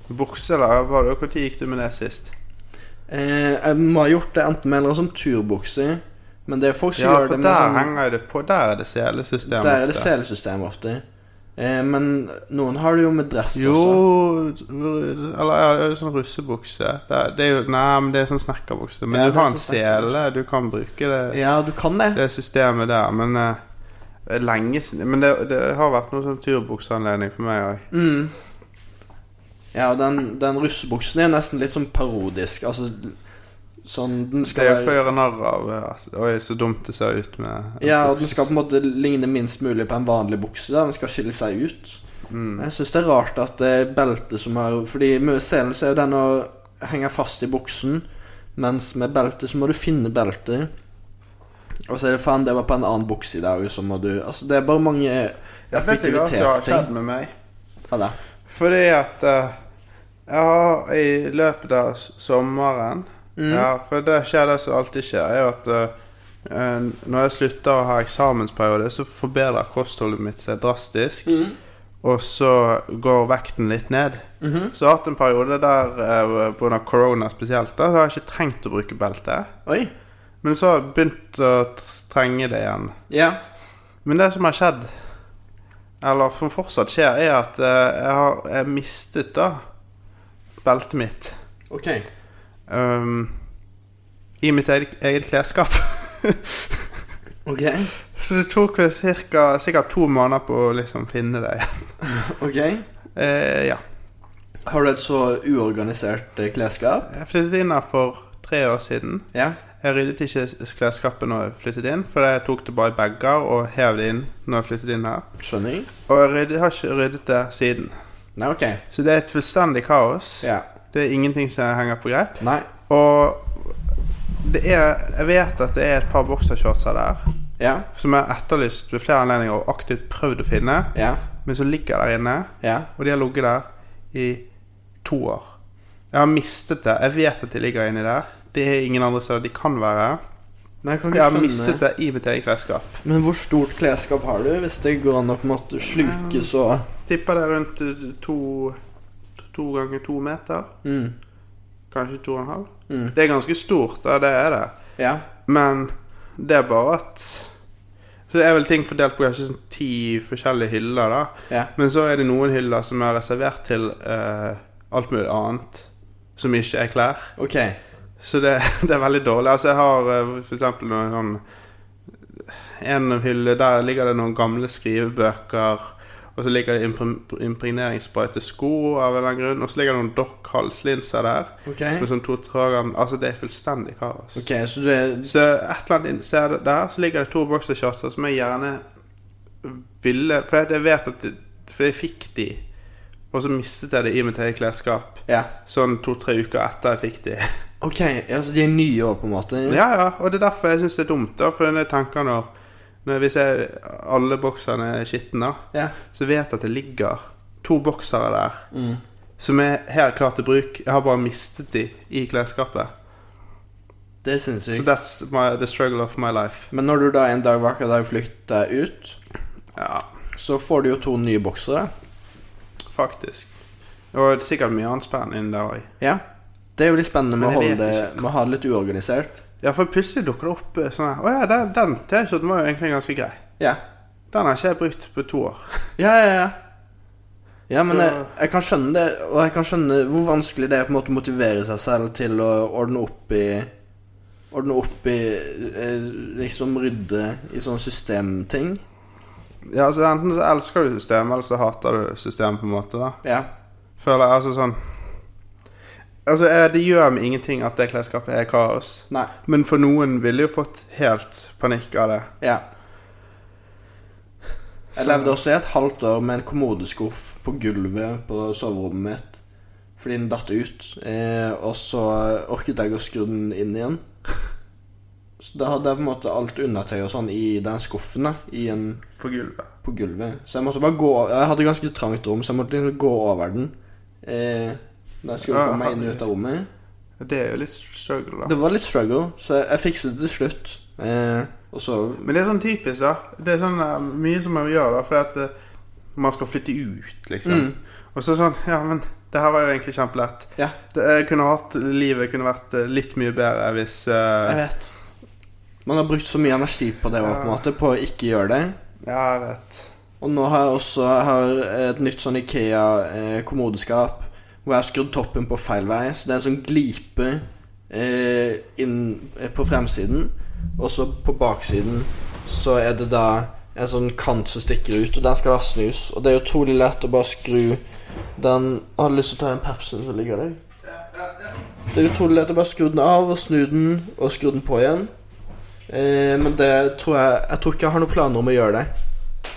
Bukse, da? Var det, hvor tid gikk du med det sist? Eh, jeg må ha gjort det enten med eller sånn turbukser. Men det er folk som Ja, gjør for det der med sånn henger det på. Der er det selesystem. Der er det ofte. selesystem ofte. Eh, men noen har det jo med dress også. Jo Eller ja, det er sånn russebukse. Det er, det er jo, nei, men det er sånn snekkerbukse. Men Ja, det du er har en sånn snekkerbukse. sele. Du kan bruke det. Ja, du kan det. det systemet der, men eh, det er lenge siden Men det, det har vært noe sånn turbukseanledning for meg òg. Mm. Ja, og den, den russebuksen er nesten litt sånn parodisk. Altså sånn Den Det er skal jo for å være gjøre narr av eh, altså, Oi, så dumt det ser ut med en Ja, og den buks. skal på en måte ligne minst mulig på en vanlig bukse. Da. Den skal skille seg ut. Mm. Jeg syns det er rart at det er beltet som har Fordi med selen så er jo den å henge fast i buksen, mens med belte så må du finne beltet. Og så er det faen, det var på en annen bukse i dag, så må du Altså, det er bare mange Jeg vet ikke hva som har skjedd effektivitetsting. med meg. Ja, da. Fordi at eh, jeg har i løpet av s- sommeren Mm. Ja, for det skjer det som alltid skjer, er jo at eh, eh, når jeg slutter å ha eksamensperiode, så forbedrer kostholdet mitt seg drastisk. Mm. Og så går vekten litt ned. Mhm. Så jeg har hatt en periode der, eh, på grunn av korona spesielt, da, så har jeg ikke trengt å bruke belte. Oi. Men så har jeg begynt å t- trenge det igjen. Ja. Men det som har skjedd, eller som fortsatt skjer, er at eh, jeg har jeg har mistet da beltet mitt Ok. um, i mitt eget, eget klesskap. Ok, Så det tok vel cirka, sikkert to måneder på å liksom finne det igjen. ok Eh, ja. Har du et så uorganisert eh, klesskap? Jeg flyttet inn her for tre år siden. Ja Jeg ryddet ikke s- klesskapet når jeg flyttet inn, for jeg tok det bare i bager og hev det inn når jeg flyttet inn her. Skjønner jeg Og jeg ryddet, har ikke ryddet det siden. Nei, ok Så det er et fullstendig kaos. Ja Det er ingenting som henger på greip. Nei Og det er, jeg vet at det er et par boksershortser der Ja som jeg har etterlyst ved flere anledninger og aktivt prøvd å finne, Ja men som ligger der inne. Ja Og de har ligget der i to år. Jeg har mistet det. Jeg vet at de ligger inni der. Det er ingen andre steder de kan være. Nei, jeg kan Jeg ikke har skjønne mistet det i mitt eget klesskap. Men hvor stort klesskap har du hvis det går an å på en måte sluke så Tipper det er rundt eh, to, to ganger to meter. mm. Kanskje to og en halv. Mm. Det er ganske stort, ja, det er det. Ja Men det er bare at Så er vel ting fordelt på kanskje sånn ti forskjellige hyller, da. Ja Men så er det noen hyller som er reservert til eh, alt mulig annet som ikke er klær. Ok Så det, det er veldig dårlig. Altså, jeg har eh, for eksempel noen sånn En hylle der ligger det noen gamle skrivebøker Og så ligger det impre- impregneringsspray til sko av en eller annen grunn. Og så ligger det noen dokk-halslinser der. Ok. Som er sånn to-tre gram Altså, det er fullstendig kaos. Ok, så du er Så et eller annet ser det der, så ligger det to boksershortser som jeg gjerne ville For jeg vet at For jeg fikk de, og så mistet jeg det i mitt eget klesskap Ja. sånn to-tre uker etter jeg fikk de. Ok, altså de er nye år, på en måte? Ja, ja, og det er derfor jeg syns det er dumt, da. For jeg tenker når, når Hvis jeg, alle bokserne er skitne, da, Ja. så vet jeg at det ligger to boksere der Mm. som er helt klart til bruk. Jeg har bare mistet de i klesskapet. Det er Så sinnssykt. that's my, the struggle of my life. Men når du da en dag hver dag flykter ut, Ja, så får du jo to nye boksere. faktisk. Og sikkert mye annet spennende inn der òg. Ja. Det er jo litt spennende med å, Men jeg holde vet det, med å ha det litt uorganisert. Ja, for plutselig dukker det opp eh, sånn her Å ja, den, den T-skjorten var jo egentlig ganske grei. Ja. Den har ikke jeg brukt på to år. Ja, ja, ja. Ja, men Så- jeg, jeg kan skjønne det, og jeg kan skjønne hvor vanskelig det er på en måte å motivere seg selv til å ordne opp i Ordne opp i eh, Liksom rydde i sånne systemting. Ja, altså Enten så elsker du systemet, eller så hater du systemet, på en måte. da Ja. Føler jeg altså sånn Altså, eh, det gjør meg ingenting at det klesskapet er kaos. Nei. Men for noen ville jo fått helt panikk av det. Ja. Jeg levde også i et halvt år med en kommodeskuff på gulvet på soverommet mitt fordi den datt ut. Eh, og så orket jeg ikke å skru den inn igjen. Så da hadde jeg på en måte alt undertøy og sånn i den skuffen da, i en, På gulvet. på gulvet. Så jeg måtte bare gå Jeg hadde ganske trangt rom, så jeg måtte liksom gå over den. Eh, da jeg skulle Ja, komme meg inn og ut av rommet. Det er jo litt struggle, da. Det var litt struggle, så jeg fikset det til slutt. Eh, og så Men det er sånn typisk, da. Det er sånn eh, mye som man gjør, da, fordi at eh, man skal flytte ut, liksom. Mm. Og så sånn Ja, men det her var jo egentlig kjempelett. Ja, Det, jeg kunne hatt Livet kunne vært eh, litt mye bedre hvis Jeg eh, vet. Man har brukt så mye energi på det, også, på en måte, på å ikke gjøre det. Ja, jeg vet. Og nå har jeg også jeg har et nytt sånn Ikea-kommodeskap hvor jeg har skrudd toppen på feil vei. Så det er en sånn glipe eh, inn eh, på fremsiden, og så på baksiden så er det da en sånn kant som stikker ut, og den skal da snus. Og det er utrolig lett å bare skru den Har du lyst til å ta den Pepsien som ligger der? Det er utrolig lett å bare skru den av og snu den, og skru den på igjen. Eh, men det tror jeg Jeg tror ikke jeg har noen planer om å gjøre det.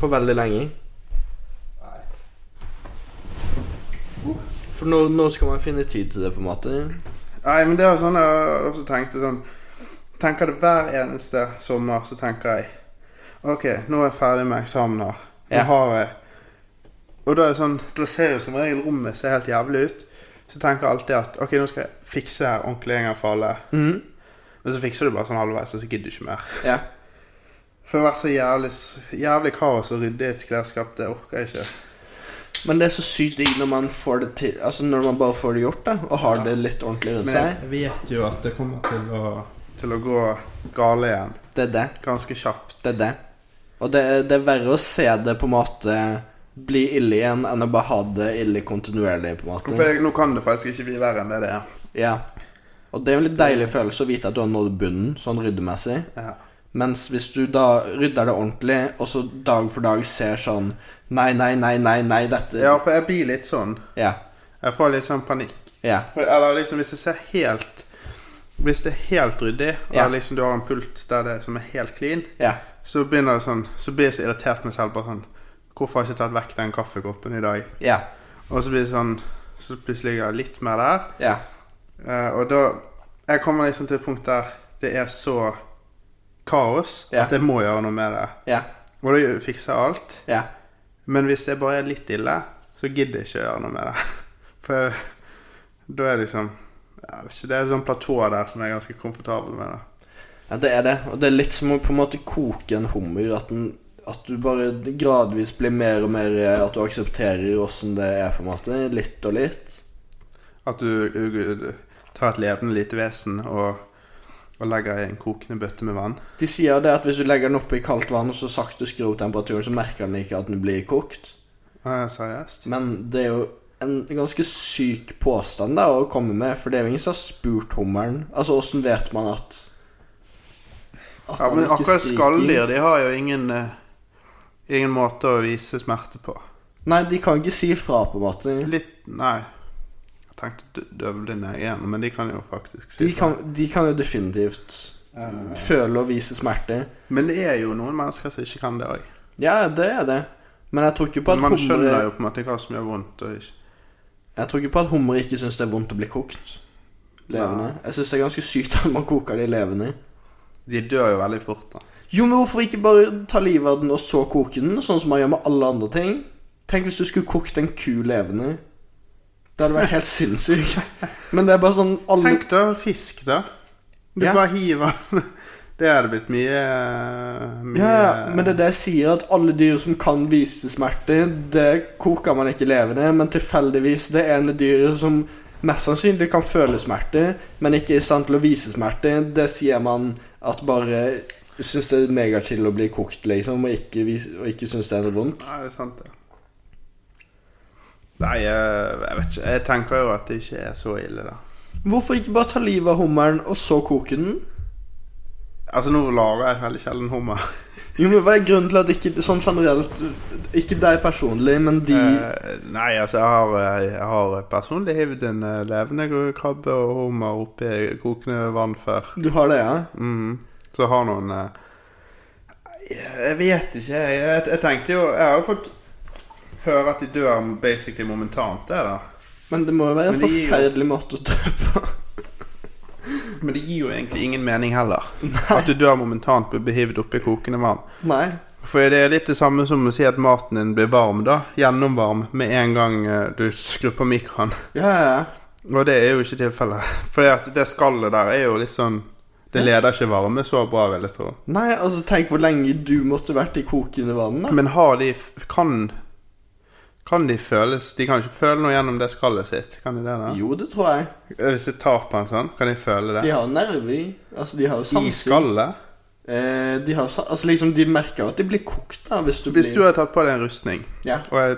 På veldig lenge. For nå, nå skal man finne tid til det, på en måte. Nei, men det var sånn jeg også tenkte sånn Tenker det hver eneste sommer, så tenker jeg OK, nå er jeg ferdig med eksamener. Nå Ja. har jeg Og da er det sånn Da ser jo som regel rommet ser helt jævlig ut. Så tenker jeg alltid at OK, nå skal jeg fikse det her ordentlig en gang for alle. Mhm. Men så fikser du bare sånn halvveis, og så gidder du ikke mer. Ja. For å være så jævlig, s- jævlig kaos og rydde i et klesskap, det orker jeg ikke. Men det er så sykt digg når man får det til Altså når man bare får det gjort, da, og har det litt ordentlig rundt Men seg. jeg vet jo at det kommer til å, til å gå gale igjen. Det er det. Ganske kjapt. Det er det. Og det, er- det er verre å se det på en måte bli ille igjen enn å bare ha det ille kontinuerlig, på en måte. For jeg, nå kan det faktisk ikke bli verre enn det det er. Ja. Og det er jo en litt deilig følelse å vite at du har nådd bunnen, sånn ryddemessig. Ja. Mens hvis du da rydder det ordentlig, og så dag for dag ser sånn Nei, nei, nei, nei, nei, dette ja, for jeg blir litt sånn. ja. Jeg får litt sånn panikk. ja. For- Eller liksom hvis det ser helt Hvis det er helt ryddig, Ja. eller liksom du har en pult der det som er helt clean, ja. så begynner det sånn Så blir jeg så irritert meg selv bare sånn Hvorfor har jeg ikke tatt vekk den kaffekoppen i dag? Ja. Og så blir det sånn Så plutselig ligger jeg litt mer der. Ja. Eh, og da Jeg kommer liksom til et punkt der det er så kaos Ja. at jeg må gjøre noe med det. Ja. Og da fikser jeg alt. Ja. Men hvis det bare er litt ille, så gidder jeg ikke å gjøre noe med det. For da er det liksom jeg vet ikke, Det er et sånt platå der som jeg er ganske komfortabel med. da. ja. Det er det. Og det er litt som å på en måte koke en hummer. At, den, at du bare gradvis blir mer og mer eh, At du aksepterer åssen det er, på en måte. Litt og litt. At du, du, du tar et levende lite vesen og, og legger i en kokende bøtte med vann. De sier det at hvis du legger den oppi kaldt vann og så sakte skrur opp temperaturen, så merker den ikke at den blir kokt. Eh, Seriøst? Men det er jo en ganske syk påstand da, å komme med, for det er jo ingen som har spurt hummeren. Altså, åssen vet man at, at Ja, han men ikke akkurat skriker? skalldyr, de har jo ingen eh, ingen måte å vise smerte på. Nei, de kan ikke si fra, på en måte. Litt Nei. Jeg tenkte dø- døvblinde igjen, men de kan jo faktisk si De fra. kan, de kan jo definitivt føle og vise smerte. Men det er jo noen mennesker som ikke kan det òg. Ja, det er det. Men jeg tror ikke på at Man skjønner humre jo på en måte hva som gjør vondt. Og ikke. Jeg tror ikke på at hummer ikke syns det er vondt å bli kokt levende. Jeg syns det er ganske sykt at man koker de levende. De dør jo veldig fort, da. Jo, men hvorfor ikke bare ta livet av den og så koke den, sånn som man gjør med alle andre ting? Tenk hvis du skulle kokt en ku levende. Det hadde vært helt sinnssykt. Men det er bare sånn alle Tenk da fisk, da. Du Ja. bare hiver den. Det hadde blitt mye, mye Ja, ja, men det er det jeg sier, at alle dyr som kan vise smerte, det koker man ikke levende, men tilfeldigvis det ene dyret som mest sannsynlig kan føle smerte, men ikke er i stand til å vise smerte, det sier man at bare syns det er megachill å bli kokt, liksom, og ikke, vis- og ikke syns det er noe vondt. Nei, det er sant, det. Nei, jeg, jeg vet ikke. Jeg tenker jo at det ikke er så ille, da. Hvorfor ikke bare ta livet av hummeren, og så koke den? Altså, nå lager jeg veldig sjelden hummer. Jo, men Hva er grunnen til at ikke sånn generelt Ikke deg personlig, men de Eh, nei, altså, jeg har, jeg har personlig hivd en eh, levende krabbe og hummer oppi kokende vann før. Du har det, ja? Mm. Så har noen eh, Jeg vet ikke. Jeg, jeg, jeg tenkte jo Jeg har jo fått høre at de dør basically momentant, det, da. Men det må jo være en Men de gir jo- forferdelig måte å dø på. Men det gir jo egentlig ingen mening heller. At du dør momentant blir behivd oppi kokende vann. Nei. For det er litt det samme som å si at maten din blir varm, da. Gjennomvarm med en gang eh, du skrur på mikroen. Ja, ja, ja. Og det er jo ikke tilfellet. For det skallet der er jo litt sånn Det leder ikke varme så bra, vil jeg tro. Nei, altså tenk hvor lenge du måtte vært i kokende vann da. Men har de f- Kan Kan de føles De kan ikke føle noe gjennom det skallet sitt? Kan de det? da? Jo, det tror jeg. Hvis jeg tar på en sånn, kan de føle det? De har nerver i. Altså, de har jo I sans. skallet? Eh, de har sa- altså, liksom, de merker jo at de blir kokt da, hvis du Hvis du blir... hadde tatt på deg en rustning, Ja, og jeg,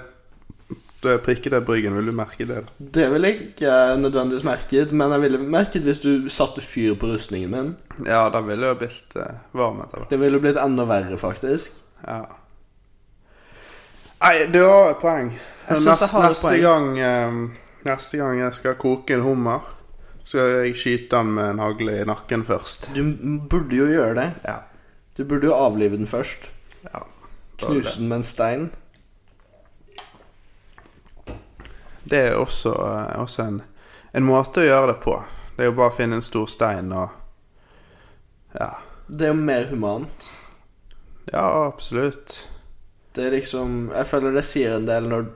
da jeg prikket deg i bryggen, vil du merke det? da? det ville jeg ikke nødvendigvis merket, men jeg ville merket hvis du satte fyr på rustningen min. Ja, da ville jeg blitt eh, varm etter hvert. Det ville blitt enda verre, faktisk. Ja. Nei, du har et poeng. Jeg synes jeg neste, har et neste, poeng. Gang, eh, neste gang jeg skal koke en hummer, skal jeg skyte den med en hagle i nakken først. Du m- burde jo gjøre det. Ja. Du burde jo avlive den først. ja. Knuse den med en stein. Det er også, eh, også en, en måte å gjøre det på. Det er jo bare å finne en stor stein og Ja, Det er jo mer humant. ja absolutt. Det er liksom Jeg føler det sier en del når,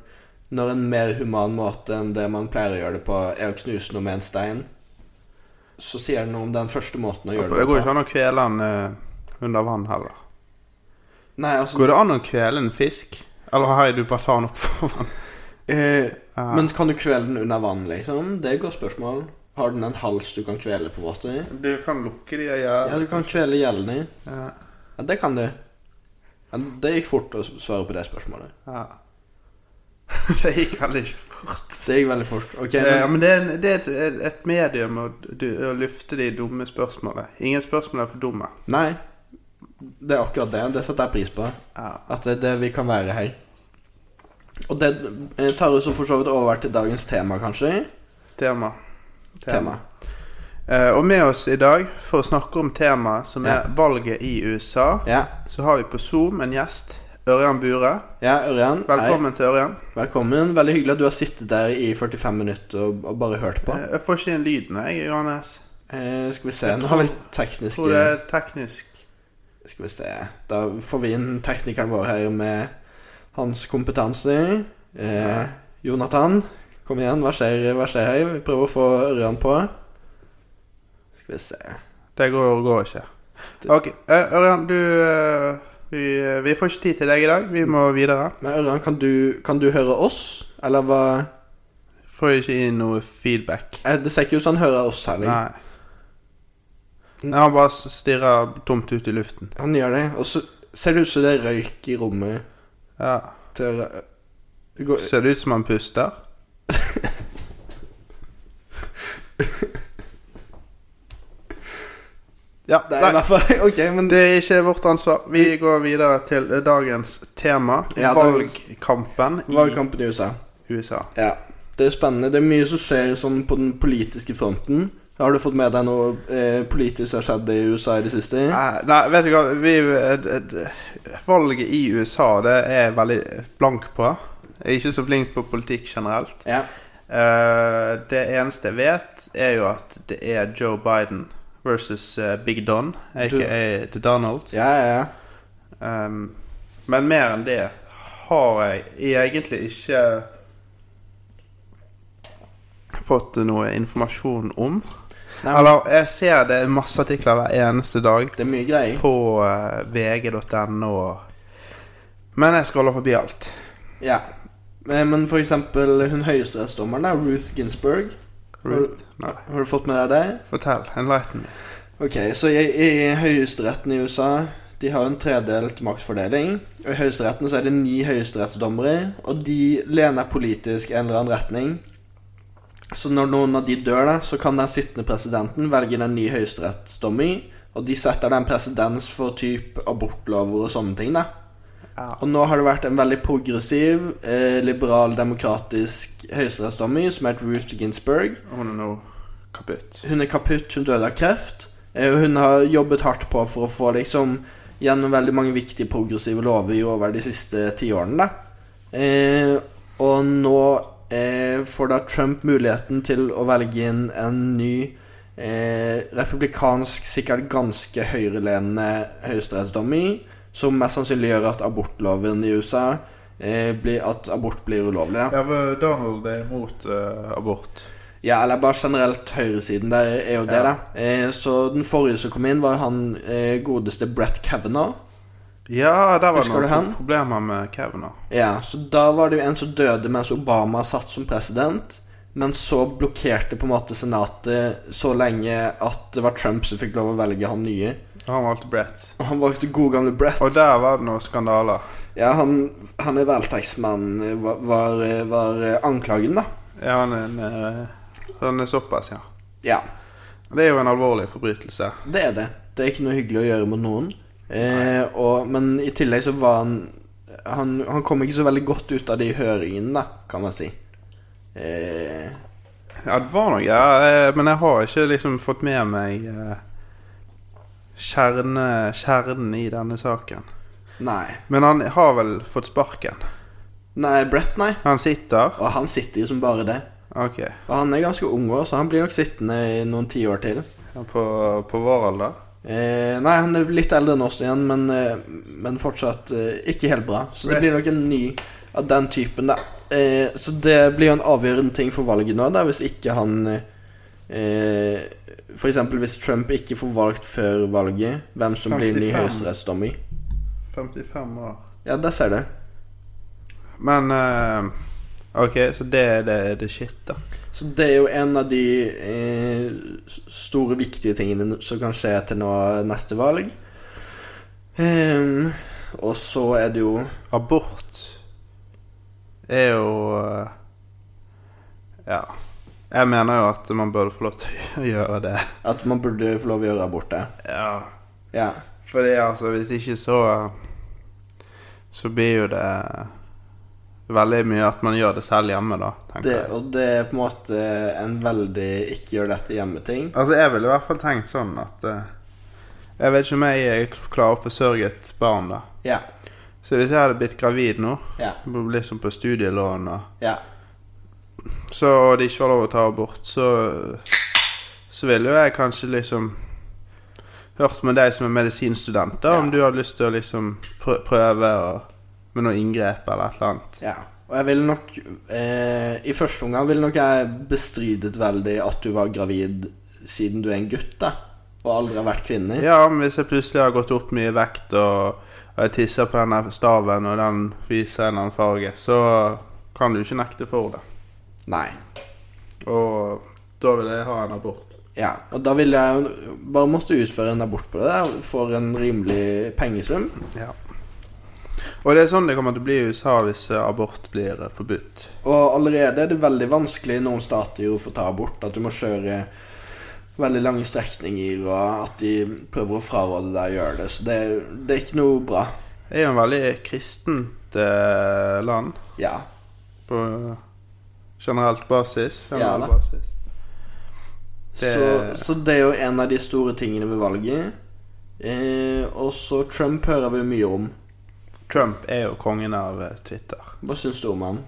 når en mer human måte enn det man pleier å gjøre det på, er å knuse noe med en stein. Så sier det noe om den første måten å Det gjøre går jo det ikke på. an å kvele den eh, under vann heller. Nei, altså Går det an å kvele en fisk? Eller har du bare tar den opp for vann? eh, Ja. Men kan du kvele den under vann, liksom? Det er et godt spørsmål. Har den en hals du kan kvele, på en måte? Du kan lukke de og Ja, gjøre du kan kvele gjelden i. ja. Ja, det kan du. Ja, det gikk fort å svare på det spørsmålet. ja. Det gikk veldig ikke fort. Det gikk veldig fort. Ok, Eh, Ja, men men det er, en- det er et, et- et medium å, du- å lufte de dumme spørsmålene. Ingen spørsmål er for dumme. Nei. Det er akkurat det. Det setter jeg pris på. Ja. At det er det vi kan være her. Og det eh, tar jo så for så vidt over til dagens tema, kanskje. Tema. Tema. Eh, og med oss i dag for å snakke om temaet som Ja. er valget i USA, Ja. så har vi på Zoom en gjest. Ørjan Bure. ja, Ørjan. Velkommen til Ørjan. Hei. Velkommen. Veldig hyggelig at du har sittet der i 45 minutter og, og bare hørt på. Eh, Jeg får ikke inn lyden, jeg, Johannes. Eh, skal vi se Nå har vi Jeg tror det tekniske er teknisk. Skal vi se Da får vi inn teknikeren vår her med hans kompetanse. Eh, Jonathan, kom igjen. Hva skjer, hva skjer her? Vi prøver å få Ørjan på. Skal vi se Det går, går ikke. Ok, eh, Ørjan, du eh, vi, vi får ikke tid til deg i dag. Vi må videre. Men Ørjan, kan du, kan du høre oss? Eller hva Får ikke inn noe feedback. Eh, Det ser ikke ut som han hører oss særlig. Nei. Nei, han bare stirrer tomt ut i luften. Han gjør det. Og så ser det ut som det er røyk i rommet Ja. til Ør- Det går- Ser det ut som han puster? Ja, Det er i nei, hvert fall Ok, men det er ikke vårt ansvar. Vi går videre til eh, dagens tema, Ja, det- valgkampen i valgkampen i USA. USA. Ja. Det er spennende. Det er mye som skjer sånn på den politiske fronten. Har du fått med deg noe eh, politisk som har skjedd i USA i det siste? Nei, Eh, nei, vet du hva vi, eh, d- d- Valget i USA det er jeg veldig blank på. Jeg er ikke så flink på politikk generelt. Ja. Eh, det eneste jeg vet, er jo at det er Joe Biden versus eh, Big Don, aka The Donald. Ja, ja, ja. Um, men mer enn det har jeg egentlig ikke fått noe informasjon om. Nei, men, Eller jeg ser det er masse artikler hver eneste dag det er mye greier. på eh, vg.no. Men jeg scroller forbi alt. Ja. Eh, Men for eksempel hun høyesterettsdommeren, da, Ruth Ginsburg. Ruth, nei. Har du fått med deg det? Fortell. Enlighten. me. Ok, så i, i høyesteretten i USA De har jo en tredelt maktfordeling. Og I høyesteretten så er det ni høyesterettsdommere, og de lener politisk i en eller annen retning. Så når noen av de dør, da, så kan den sittende presidenten velge den nye høyesterettsdommer, og de setter den presedens for typ abortlover og sånne ting, da. Ja. Og nå har det vært en veldig progressiv, eh, liberal, demokratisk høyesterettsdommer som heter Ruth Ginsburg. Hun er nå kaputt. Hun er kaputt, hun døde av kreft. eh, og Hun har jobbet hardt på for å få liksom gjennom veldig mange viktige progressive lover jo over de siste tiårene. da. Eh, og nå eh, får da Trump muligheten til å velge inn en ny eh, republikansk, sikkert ganske høyrelenende høyesterettsdommer, som mest sannsynlig gjør at abortloven i USA eh, blir, at abort blir ulovlig. da. Ja, for Donald er imot eh, abort. Ja, eller bare generelt høyresiden der er jo det, Ja. da. Eh, så den forrige som kom inn, var han eh, godeste Brett Kavanaugh. Ja, der var det Husker du noen han? problemer med Kavanaugh. Ja, så da var det jo en som døde mens Obama satt som president. Men så blokkerte på en måte Senatet så lenge at det var Trump som fikk lov å velge han nye. Han valgte Brett. Og han valgte god gamle Brett. Og der var det noen skandaler. Ja, han, han er voldtektsmann, eh, var, var, eh, var eh, anklagen, da. Ja, han er, en, eh, han er såpass, ja. Ja, Det er jo en alvorlig forbrytelse. Det er det. Det er ikke noe hyggelig å gjøre mot noen. Eh, og, men i tillegg så var han, han Han kom ikke så veldig godt ut av de høringene, da, kan man si. Eh, Ja, det var noe, ja, eh, men jeg har ikke liksom fått med meg eh, kjerne, kjernen i denne saken. nei. Men han har vel fått sparken. Nei, Brett, nei. Han sitter. Og han sitter jo som bare det. Ok. Og han er ganske ung òg, så han blir nok sittende i noen tiår til. På, på vår alder. Eh, nei, han er litt eldre enn oss igjen, men, eh, men fortsatt eh, ikke helt bra. Så Right. det blir nok en ny av den typen, da. Eh, så det blir jo en avgjørende ting for valget nå, da, hvis ikke han eh, F.eks. hvis Trump ikke får valgt før valget hvem som blir ny 55. høyesterettsdommer. 55 år. Ja, der ser du. Men eh, Ok, så det er det, det shit, da. Så det er jo en av de eh, s- store, viktige tingene som kan skje til nå neste valg. Ehm, og så er det jo Abort er jo eh, Ja. Jeg mener jo at man burde få lov til å gjøre det. At man burde få lov å gjøre abort der. Ja. Ja. Fordi altså, hvis ikke så Så blir jo det veldig mye at man gjør det selv hjemme, da, tenker Det, jeg. og det er på en måte en veldig ikke gjør dette hjemme-ting. Altså, jeg ville i hvert fall tenkt sånn at eh, Jeg vet ikke om jeg eh, klarer å forsørge et barn, da. Ja. Så hvis jeg hadde blitt gravid nå, Ja. liksom på studielån og Ja. så, og det ikke var lov å ta abort, så, så ville jo jeg kanskje liksom hørt med deg som er medisinstudent, da, Ja. om du hadde lyst til å liksom prø- prøve å, med noe inngrep eller et eller annet. ja. Og jeg ville nok eh, I første omgang ville nok jeg bestridet veldig at du var gravid siden du er en gutt, da. Og aldri har vært kvinne. Ja, men hvis jeg plutselig har gått opp mye vekt og, og jeg tisser på denne staven, og den viser en eller annen farge, så kan du ikke nekte for det. Nei. Og da vil jeg ha en abort. Ja. Og da ville jeg jo bare måtte utføre en abort på det der for en rimelig pengesum. Ja. Og det er sånn det kommer til å bli i USA hvis eh, abort blir eh, forbudt. Og allerede er det veldig vanskelig i noen stater jo å få ta abort. At du må kjøre veldig lange strekninger, og at de prøver å fraråde deg å gjøre det. Så det, det er ikke noe bra. Det er jo en veldig kristent eh, land Ja. på generelt basis. Ja, generell da. basis. Det- Så, så det er jo en av de store tingene med valget. Eh, og så Trump hører vi jo mye om. Trump er jo kongen av eh, Twitter. Hva syns du om han?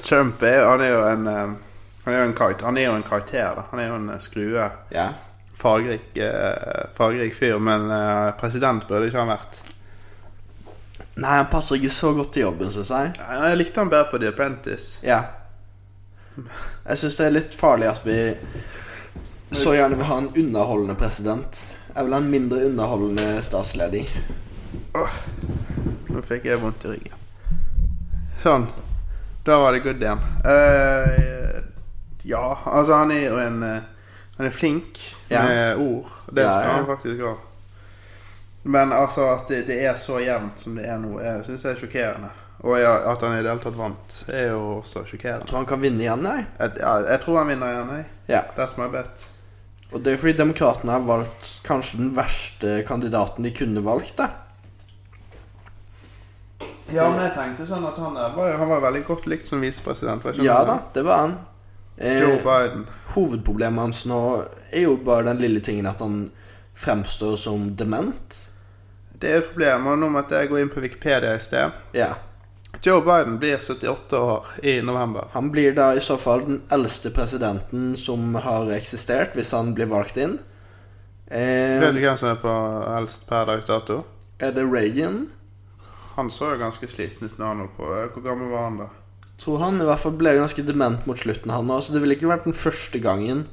Trump er, han er jo en eh, han er jo en, karakter, han er jo en karakter, da. Han er jo en eh, skrue. Ja. Fargerik, eh, fargerik fyr, men eh, president burde ikke han vært. Nei, han passer ikke så godt til jobben, syns jeg. Nei, Jeg likte han bedre på The Apprentice. Ja. Jeg syns det er litt farlig at vi så gjerne vil ha en underholdende president. Jeg vil ha en mindre underholdende statsledig. Nå fikk jeg vondt i ryggen. Sånn. Da var det good igjen. Eh, ja, altså han er jo en eh, Han er flink Ja. med ord. Det Ja, skal ja. han faktisk ha. Men altså at det, det er så jevnt som det er nå, jeg syns jeg er sjokkerende. Og ja, at han i det hele tatt vant, er jo også sjokkerende. Tror han kan vinne igjen, nei? Jeg, ja, jeg tror han vinner igjen, jeg. Ja. That's my bet. Og det er fordi demokratene har valgt kanskje den verste kandidaten de kunne valgt, da. Ja, men jeg tenkte sånn at han der var, han var veldig godt likt som visepresident. var ikke han Ja det? da, det var han. Joe Eh, Biden. hovedproblemet hans nå er jo bare den lille tingen at han fremstår som dement. Det er et problem. Og nå måtte jeg gå inn på Wikipedia i sted. Ja. Joe Biden blir 78 år i november. Han blir da i så fall den eldste presidenten som har eksistert, hvis han blir valgt inn. Vet Eh, du hvem som er på eldst per dags dato? er det Reagan? Han så jo ganske sliten ut når han holdt på. eh, Hvor gammel var han da? Tror han i hvert fall ble ganske dement mot slutten, han òg, så det ville ikke vært den første gangen.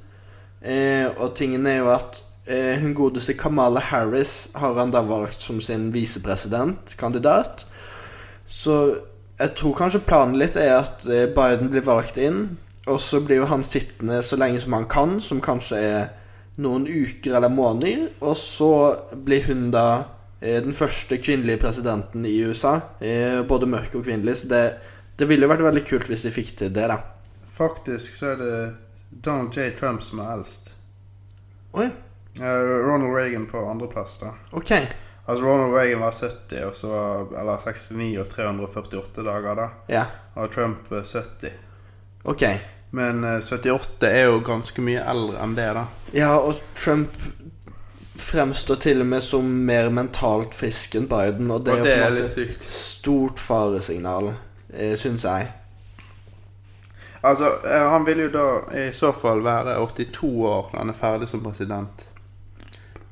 Eh, og tingen er jo at eh, hun godeste Kamala Harris har han da valgt som sin visepresidentkandidat. Så jeg tror kanskje planen litt er at eh, Biden blir valgt inn, og så blir jo han sittende så lenge som han kan, som kanskje er noen uker eller måneder, og så blir hun da eh, den første kvinnelige presidenten i USA, eh, både mørk og kvinnelig, så det, det ville jo vært veldig kult hvis de fikk til det, da. Faktisk så er det Donald J. Trump som er eldst. Oi, Eh, Ronald Reagan på andreplass, da. ok. Altså Ronald Reagan var 70, og så, eller 69 og 348 dager, da. Ja, Og Trump eh, 70. ok. Men eh, 78 er jo ganske mye eldre enn det, da. Ja, og Trump fremstår til og med som mer mentalt frisk enn Biden, og det er Og jo det på er en litt måte sykt. et stort faresignal, eh, syns jeg. Altså, eh, han vil jo da i så fall være 82 år når han er ferdig som president.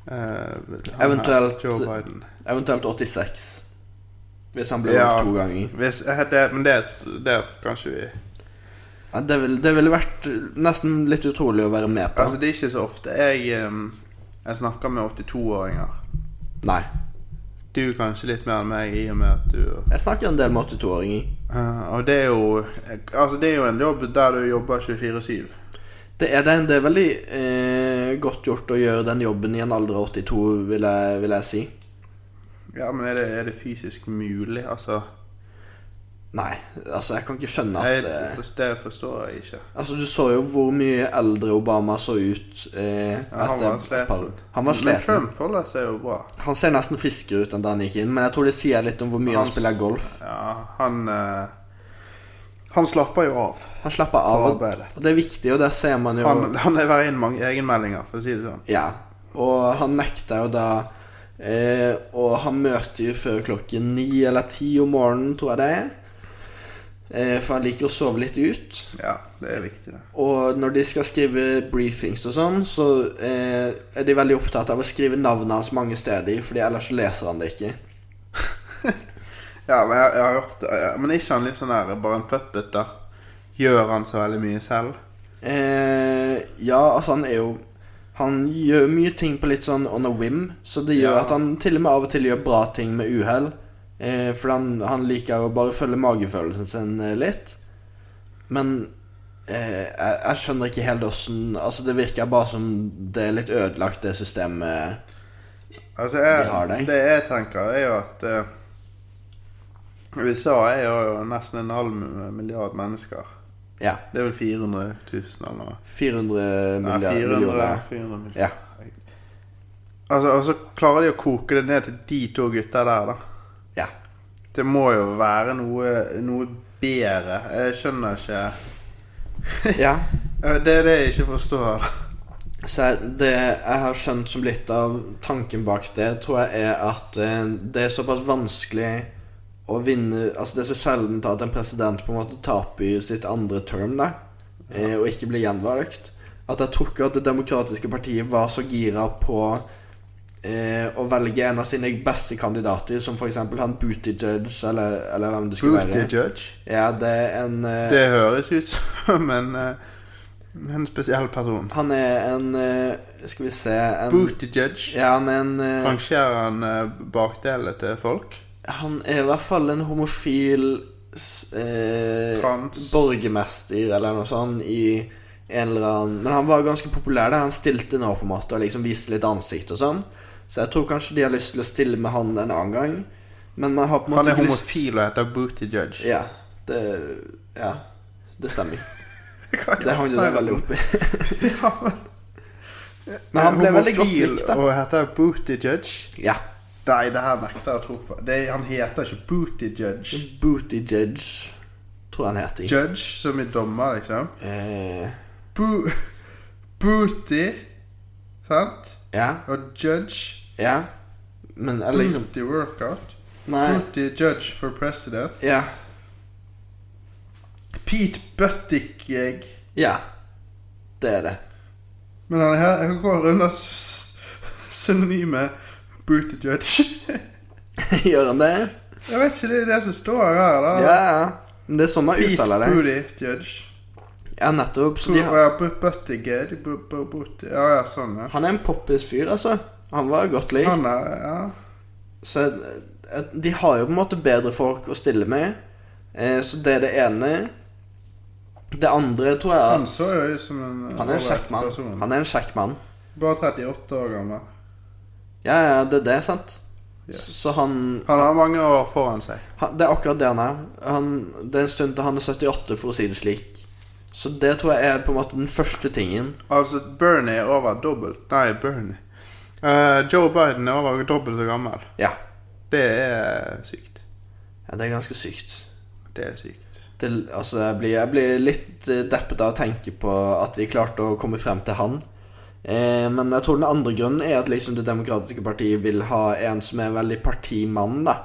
Eh, han her, Eventuelt- Joe Biden. Eventuelt 86, hvis han blir Ja. valgt to ganger. Hvis, eh, det, men det, det kanskje vi Ja, det, vil, det ville vært nesten litt utrolig å være med på. Altså, det er ikke så ofte jeg, eh, jeg snakker med 82-åringer. Nei. Du kanskje litt mer enn meg, i og med at du Jeg snakker en del med 82-åringer. Eh, Og det er jo Altså, det er jo en jobb der du jobber 24-7. Det er, det, det er veldig eh, godt gjort å gjøre den jobben i en alder av 82, vil jeg, vil jeg si. Ja, men er det, er det fysisk mulig? Altså Nei, altså jeg kan ikke skjønne jeg, at eh, Det forstår jeg ikke. Altså Du så jo hvor mye eldre Obama så ut. Eh, Ja, han etter var et sliten. par- Han var Men sliten. Trump holder seg jo bra. Han ser nesten friskere ut enn da han gikk inn, men jeg tror det sier litt om hvor mye han, Han- spiller golf. Ja, han eh, Han slapper jo av. Han slapper av, og, Arbeidet. og det er viktig, og der ser man jo Han, han leverer inn mange egenmeldinger, for å si det sånn. Ja, og han nekta jo da eh, Og han møter jo før klokken ni eller ti om morgenen, tror jeg det er. Eh, for han liker å sove litt ut. Ja, det er viktig, det. Og når de skal skrive briefings og sånn, så eh, er de veldig opptatt av å skrive navnet hans mange steder, Fordi ellers så leser han det ikke. Ja, men jeg, jeg har hørt eh, Men er ikke han litt sånn der bare en puppet, da? Gjør han så veldig mye selv? Eh, ja, altså han er jo Han gjør mye ting på litt sånn on a whim, så det gjør Ja. at han til og med av og til gjør bra ting med uhell. Eh, for han, han liker å bare følge magefølelsen sin eh, litt. Men eh, jeg, jeg skjønner ikke helt åssen Altså, det virker bare som det er litt ødelagt, det systemet. Altså, jeg, Vi har deg. det jeg tenker, er jo at eh, USA er jo nesten en halv milliard mennesker. Ja. Det er vel 400 000 eller noe? 400 Nei, milliarder 400, millioner. 400 millioner. Ja. Altså, og så klarer de å koke det ned til de to gutta der, da. ja. Det må jo være noe, noe bedre. Jeg skjønner ikke ja. Det er det jeg ikke forstår. Så jeg- det jeg har skjønt som litt av tanken bak det, tror jeg er at eh, det er såpass vanskelig å vinne Altså det er så sjeldent at en president på en måte taper i sitt andre term, da, eh, og ikke blir gjenvalgt. At jeg tror ikke at Det demokratiske partiet var så gira på eh, å velge en av sine beste kandidater, som f.eks. han Booty Judge, eller, eller hvem det skulle Booty være. judge. Ja, det er en eh, Det høres ut som en, eh, en spesiell person. Han er en eh, Skal vi se en, Booty judge. Ja, han er en eh, Rangerer han eh, bakdelet til folk? Han er i hvert fall en homofil s- eh, Trans. borgermester eller noe sånt i en eller annen Men han var ganske populær da han stilte nå, på en måte, og liksom viste litt ansikt og sånn. Så jeg tror kanskje de har lyst til å stille med han en annen gang. Men man har på en Han måte er ikke lyst- homofil og heter Booty judge. Ja. Det, ja, det stemmer. Hva Det hang du deg veldig opp i. Ja, men- Men han ble veldig godt Homofil likt, da. Og heter Booty judge. Ja. Nei, det her nekter jeg å tro på. Det, han heter ikke Booty judge. Booty Judge, tror jeg han heter. Judge som i dommer, liksom. Eh, Bo booty, sant? ja. Og judge. Ja. Men eller liksom Booty workout. Nei. Booty judge for president. Ja. Pete Buttigieg. Ja. Det er det. Men han, her, han går under s- synonymet booty judge. Gjør han det? Jeg vet ikke, det er det som står her, da. Ja, ja. Men det er sånn man Pete uttaler det. Booty judge. Ja, nettopp. Så Bo- de har, ja, Bu- Buttigieg. Bu- Bu- Booty Ja, ja, sånn, ja. han er en poppis fyr, altså. Han var godt likt. Han er Ja. Så jeg- jeg- de har jo på en måte bedre folk å stille med. Eh, Så det er det ene. Det andre tror jeg at Han så jo ut som en Han er en ålreit kjekk mann. person. Han er en kjekk mann. Bare 38 år gammel. Ja, ja, det er det, sant? Yes. Så han Han har mange år foran seg. Han- Det er akkurat det han er. Han, det er en stund til han er 78, for å si det slik. Så det tror jeg er på en måte den første tingen. Altså, Bernie er over dobbelt. Nei, Bernie. Eh, Joe Biden er over dobbelt så gammel. Ja. Det er sykt. ja det er ganske sykt. Det er sykt. Det, altså, jeg blir, jeg blir litt eh, deppet av å tenke på at de klarte å komme frem til han. Eh, men jeg tror den andre grunnen er at liksom Det demokratiske partiet vil ha en som er veldig partimann, da.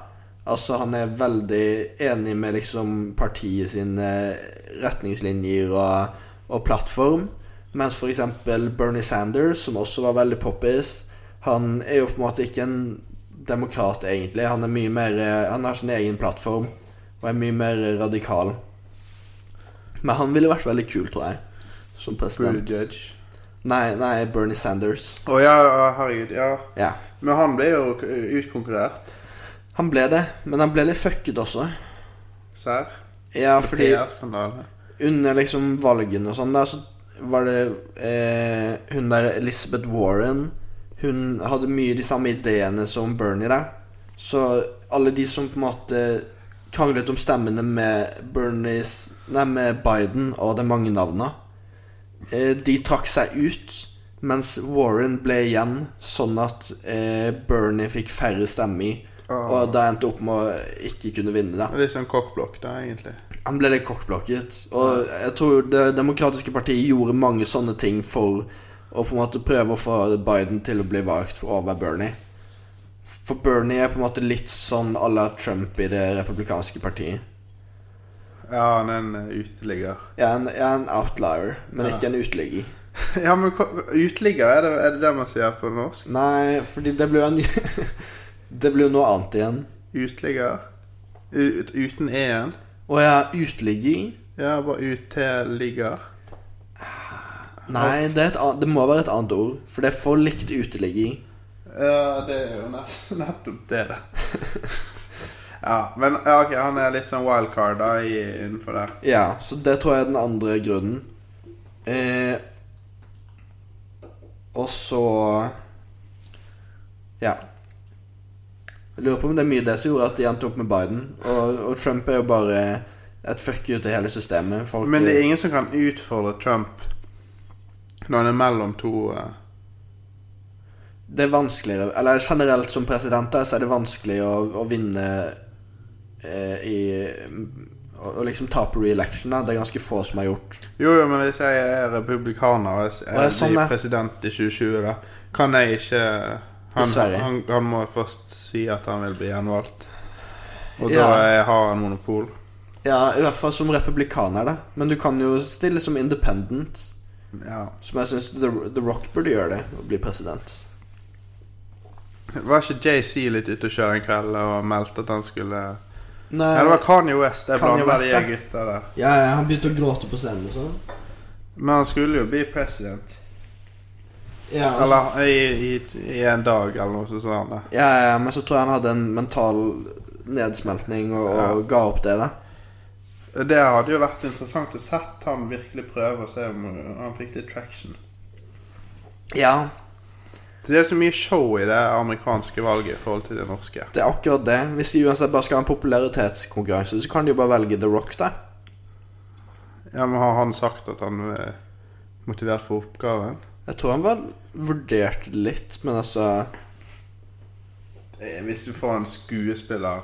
Altså, han er veldig enig med liksom partiet sine retningslinjer og, og plattform. Mens f.eks. Bernie Sanders, som også var veldig poppis, han er jo på en måte ikke en demokrat, egentlig. Han er mye mer eh, Han har sin egen plattform og er mye mer radikal. Men han ville vært veldig kul, tror jeg, som president. Booty judge. Nei, nei, Bernie Sanders. Å ja, ja, herregud. Ja. Ja. Men han ble jo eh, utkonkurrert. Han ble det, men han ble litt fucket også. Serr. Ja, fordi PR-skandale. under liksom valgene og sånn der, så var det eh, hun der Elizabeth Warren Hun hadde mye de samme ideene som Bernie der. Så alle de som på en måte kranglet om stemmene med Bernies Nei, med Biden, og det er mange navna, eh, de trakk seg ut. Mens Warren ble igjen, sånn at eh, Bernie fikk færre stemmer. Ah. Og da endte opp med å ikke kunne vinne, da. Litt sånn kokkblokk, da, egentlig. Han ble litt kokkblokket. Og jeg tror Det demokratiske partiet gjorde mange sånne ting for å på en måte prøve å få Biden til å bli valgt over Bernie. For Bernie er på en måte litt sånn à la Trump i det republikanske partiet. Ja, han er en eh, uteligger. Jeg er en, jeg er en outlier, men ikke en uteligger. Ja, men hva- uteligger, er det, er det det man sier på norsk? Nei, fordi det blir jo en Det blir jo noe annet igjen. Uteligger? Ut, uten e-en? Og jeg er uteligger. Ja, bare uteligger. Nei, det, er et annet, det må være et annet ord, for det er for likt uteligger. Ja, det er jo nett- nettopp det, da. ja, men ja, ok, han er litt sånn wildcard da, i- innenfor der. Ja, så det tror jeg er den andre grunnen. Eh, og så Ja. Jeg lurer på om det er mye det som gjorde at de endte opp med Biden. Og, og Trump er jo bare et fuck you til hele systemet. Folk, Men det er ingen som kan utfordre Trump når han er mellom to eh, det er vanskeligere Eller generelt som president der, så er det vanskelig å, å vinne eh, i Å å liksom tape re-election. da. Det er ganske få som har gjort Jo, jo, men hvis jeg er republikaner og jeg Å, ja, er sånn, ja. blir president i 2020, da kan jeg ikke han, Dessverre. han, han må først si at han vil bli gjenvalgt. Og Ja. da er- har han monopol. Ja, i hvert fall som republikaner, da. Men du kan jo stille som independent. Ja. Som jeg syns The, The Rock burde gjøre det, å bli president. Var ikke JC litt ute og kjøre en kveld og meldte at han skulle Nei, Ja, det var Kanye West. Jeg Eh, Kanye blander West, de ja. gutta der. ja, ja, han begynte å gråte på scenen og sånn. Men han skulle jo bli president. Ja, altså- Eller i, i, i en dag eller noe, sånn, så sa han det. ja, ja, men så tror jeg han hadde en mental nedsmeltning og, og ga opp det, da. Det hadde jo vært interessant å sett han virkelig prøve og se om han fikk litt traction. Ja, Det er så mye show i det amerikanske valget i forhold til det norske. det er akkurat det. Hvis de uansett bare skal ha en popularitetskonkurranse, så kan de jo bare velge The Rock, da. Ja, men Har han sagt at han er motivert for oppgaven? Jeg tror han var vurdert litt, men altså Eh, Hvis du får en skuespiller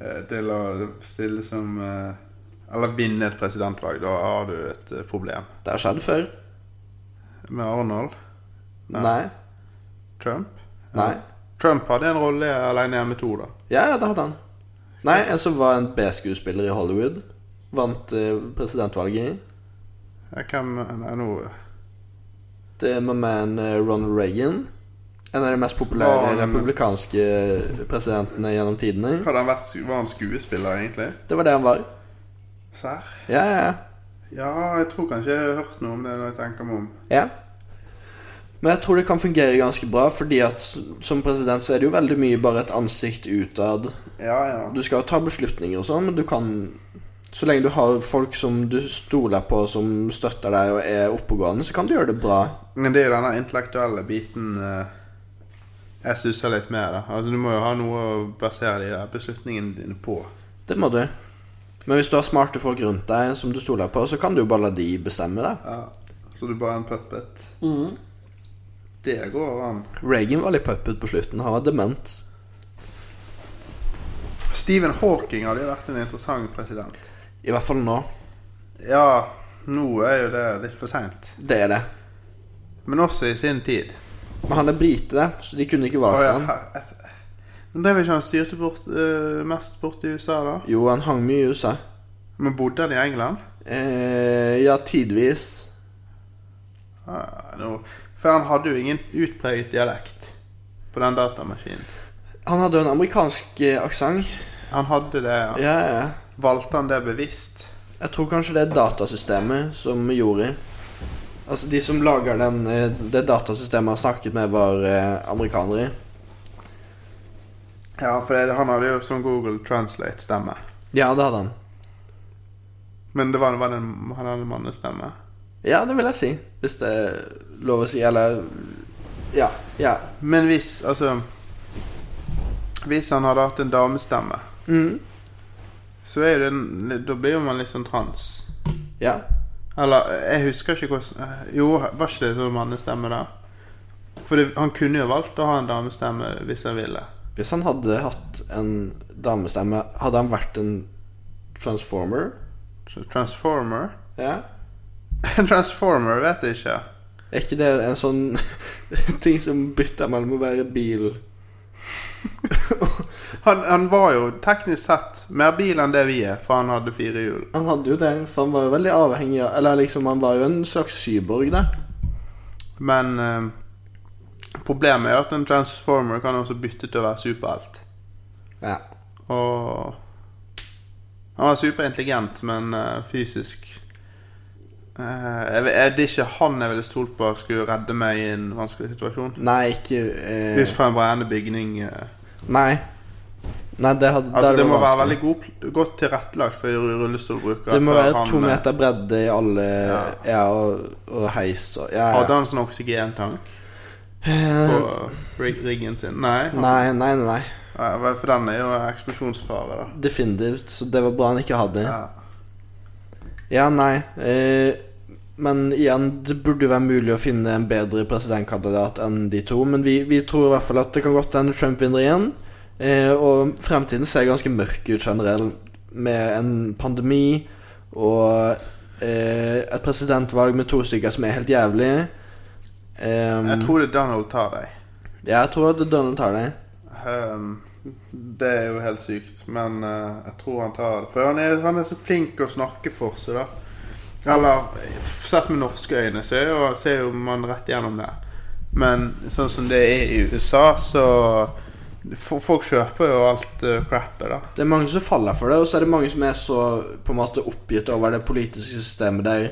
eh, til å stille som eh, Eller vinne et presidentvalg, da har du et eh, problem. Det har skjedd før. Med Arnold? Nei. Nei. Trump? Eh, Nei. Trump hadde en rolle i Aleine hjemme to, da. Ja, ja, det hadde han. Nei, en som var en B-skuespiller i Hollywood. Vant eh, presidentvalget i. Ja, Hvem Nei, nå Det er my man eh, Ronald Reagan. En av de mest Var populære han- republikanske eh, presidentene gjennom tidene. Hadde han vært, sku- Var han skuespiller, egentlig? Det var det han var. Serr? Ja, ja, ja. Ja, jeg tror kanskje jeg har hørt noe om det når jeg tenker meg om. Ja. Men jeg tror det kan fungere ganske bra, fordi at s- som president så er det jo veldig mye bare et ansikt utad. Ja, ja. Du skal jo ta beslutninger og sånn, men du kan Så lenge du har folk som du stoler på, som støtter deg og er oppegående, så kan du gjøre det bra. Men det er jo denne intellektuelle biten eh, jeg stusser litt med. da. Altså, Du må jo ha noe å basere de der beslutningene dine på. Det må du. Men hvis du har smarte folk rundt deg som du stoler på, så kan du jo bare la de bestemme det. Ja, Så du bare er en puppet. Det går an. Reagan var litt puppet på slutten. Han var dement. Stephen Hawking hadde jo vært en interessant president. I hvert fall nå. Ja, nå er jo det litt for seint. Det er det. Men også i sin tid. Men han er brite, så de kunne ikke Å, valgt ja, han. her- et- Men drev ikke han styrte bort, eh, mest bort i USA, da? Jo, han hang mye i USA. Men bodde han i England? Eh, ja, tidvis. Ah, nå- For han hadde jo ingen utpreget dialekt på den datamaskinen. Han hadde jo en amerikansk eh, aksent. Han hadde det, ja. Ja, ja. Valgte han det bevisst? Jeg tror kanskje det er datasystemet som gjorde Altså, de som lager den, eh, det datasystemet han snakket med, var eh, amerikanere. Ja, for det, han hadde jo sånn Google Translate-stemme. Ja, det hadde han. Men det var, var det en, han hadde en mannestemme. Ja, det vil jeg si. Hvis det er lov å si, eller Ja. ja. Men hvis, altså Hvis han hadde hatt en damestemme, Mm. så er jo det en- Da blir jo man litt sånn trans. Ja. Eller jeg husker ikke hvordan eh, Jo, var ikke det sånn mannestemme da? For det, han kunne jo valgt å ha en damestemme hvis han ville. Hvis han hadde hatt en damestemme, hadde han vært en transformer? Så Transformer? Ja. En Transformer vet jeg ikke. Er ikke det en sånn ting som bytter mellom å være bil Han, han var jo teknisk sett mer bil enn det vi er, for han hadde fire hjul. Han hadde jo det, for han var jo veldig avhengig av Eller liksom, han var jo en slags cyborg, da. Men eh, problemet er at en Transformer kan også bytte til å være superhelt. Ja. Og Han var superintelligent, men eh, fysisk eh, jeg, vet- jeg, Det er ikke han jeg ville stolt på skulle redde meg i en vanskelig situasjon. Nei, ikke Ut eh, fra en brennende bygning. eh. Nei. Nei, det hadde Altså, der det må være vanskelig. veldig god, pl- godt tilrettelagt for rullestolbrukere. Det må for være han, to eh, meter bredde i alle Ja, Ja. og, og heis og ja, ja. Hadde han sånn oksygentank på Eh, rig- riggen sin? Nei. han- Nei, nei, nei, nei. Ja, For den er jo eksplosjonsfare, da. Definitivt. Så det var bra han ikke hadde. Ja. Ja, nei. Eh, men igjen, det burde jo være mulig å finne en bedre presidentkandidat enn de to. Men vi, vi tror i hvert fall at det kan godt hende Trump vinner igjen. Eh, og fremtiden ser ganske mørk ut generelt, med en pandemi og eh, et presidentvalg med to stykker som er helt jævlig. Eh, Jeg tror det er Donald tar deg. ja, jeg tror at Donald tar det. Ehm, det er jo helt sykt, men eh, jeg tror han tar det. For han er, han er så flink å snakke for seg, da. Eller sett med norske øyne, så er jo, ser jo man rett gjennom det. Men sånn som det er i USA, så fo- Folk kjøper jo alt uh, crappet, da. Det er mange som faller for det, og så er det mange som er så på en måte oppgitt over det politiske systemet der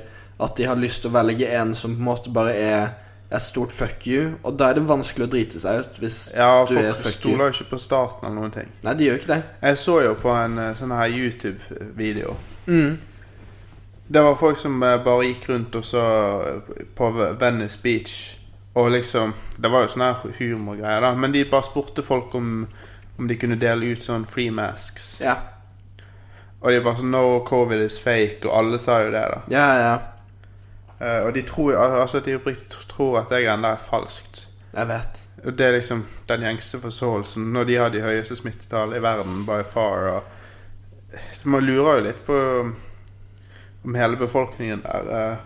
at de har lyst til å velge en som på en måte bare er et stort fuck you, og da er det vanskelig å drite seg ut hvis Ja, du er et folk fuck you. stoler jo ikke på staten eller noen ting. Nei, de gjør ikke det. Jeg så jo på en eh, sånn her YouTube-video. Mm. Det var folk som eh, bare gikk rundt og så eh, på Venice Beach. Og liksom Det var jo sånne her humorgreier, da. Men de bare spurte folk om, om de kunne dele ut sånn free masks. Ja, Og de bare sånn No, covid is fake. Og alle sa jo det, da. ja, ja. Eh, og de tror jo al- Altså, de oppriktig tr- tror at det greiene der er falskt. Jeg vet. Og det er liksom den gjengse forståelsen når de har de høyeste smittetallene i verden by far. Og Så man lurer jo litt på om hele befolkningen der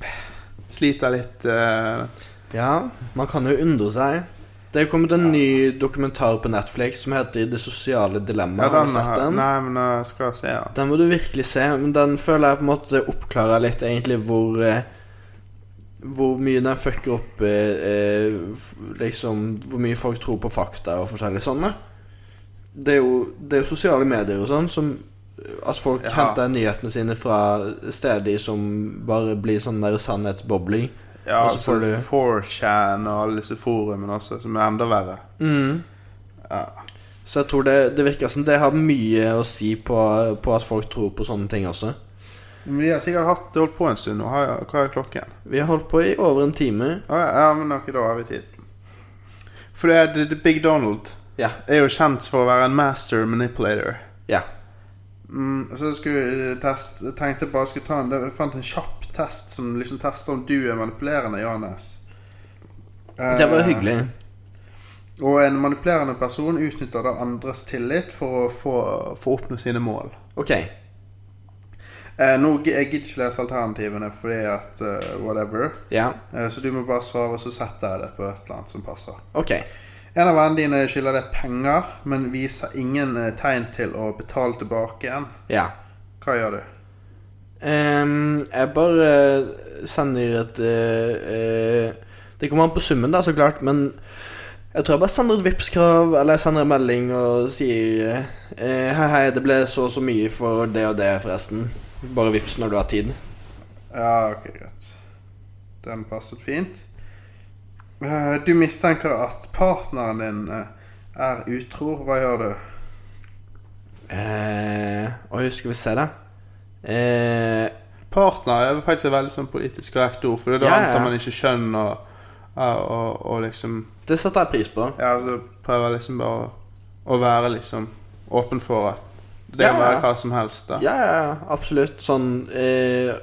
eh, sliter litt eh. Ja, man kan jo undre seg. Det er kommet en ny dokumentar på Netflix som heter 'Det sosiale dilemma'. Ja, har den du sett har den? Nei, men jeg skal se den. Den må du virkelig se, men den føler jeg på en måte oppklarer litt egentlig hvor eh, Hvor mye den fucker opp eh, eh, f- Liksom hvor mye folk tror på fakta og forskjellig sånne. Det er jo, det er jo sosiale medier og sånn som At folk Ja. henter nyhetene sine fra steder som bare blir sånn der sannhetsbobler. Ja, Og så altså får du- 4chan og alle disse forumene også, som er enda verre. Ja. Så jeg tror det, det virker som det har mye å si på, på at folk tror på sånne ting også. Men Vi har sikkert hatt holdt på en stund nå. Har- Hva er klokken? Vi har holdt på i over en time. Å, ja, ja, men ok, da har vi tid. For det er The- The Big Donald. Ja. er jo kjent for å være en master manipulator. Ja. Mm, så jeg skulle eh, test, jeg tenkte bare jeg skulle ta en Jeg fant en kjapp test som liksom tester om du er manipulerende, Johannes. Eh, Det var hyggelig. Og en manipulerende person utnytter da andres tillit for å få, for å oppnå sine mål. Ok. Eh, nå gi- jeg gidder ikke lese alternativene fordi at eh, whatever. Ja, Eh, så du må bare svare, og så setter jeg det på et eller annet som passer. ok. En av vennene dine skylder deg penger, men viser ingen eh, tegn til å betale tilbake igjen. Ja. Hva gjør du? Ehm, jeg bare eh, sender et eh, eh, Det kommer an på summen, da, så klart, men jeg tror jeg bare sender et Vipps-krav, eller jeg sender en melding og sier eh, eh, Hei, hei, det ble så og så mye for det og det, forresten. Bare vips når du har tid. Ja, ok, greit. Den passet fint. Eh, Du mistenker at partneren din eh, er utro. Hva gjør du? Eh, oi, skal vi se, da. Eh, Partner er faktisk et veldig sånn politisk korrekt ord, for da Ja, ja, ja. antar man ikke kjønn og, og, og, og liksom det setter jeg pris på. Ja, altså prøver liksom bare å, å være liksom åpen for at det Ja, kan ja, være ja. hva som helst, da. Ja, ja, ja, absolutt. Sånn eh,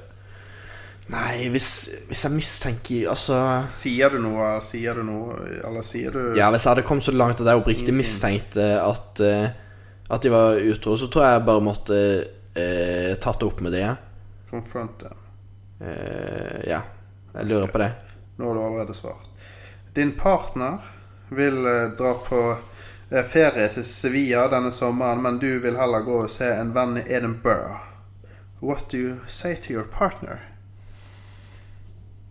Nei, hvis, hvis jeg mistenker Altså Sier du noe, eller sier du noe, eller sier du Ja, hvis jeg hadde kommet så langt at jeg oppriktig mistenkte at, eh, at de var utro, så tror jeg jeg bare måtte eh, tatt det opp med de. ja. Confront dem. Eh, ja. Jeg lurer på det. Nå har du allerede svart. Din partner vil eh, dra på eh, ferie til Sevilla denne sommeren, men du vil heller gå og se en venn i Edinburgh. What do you say to your partner?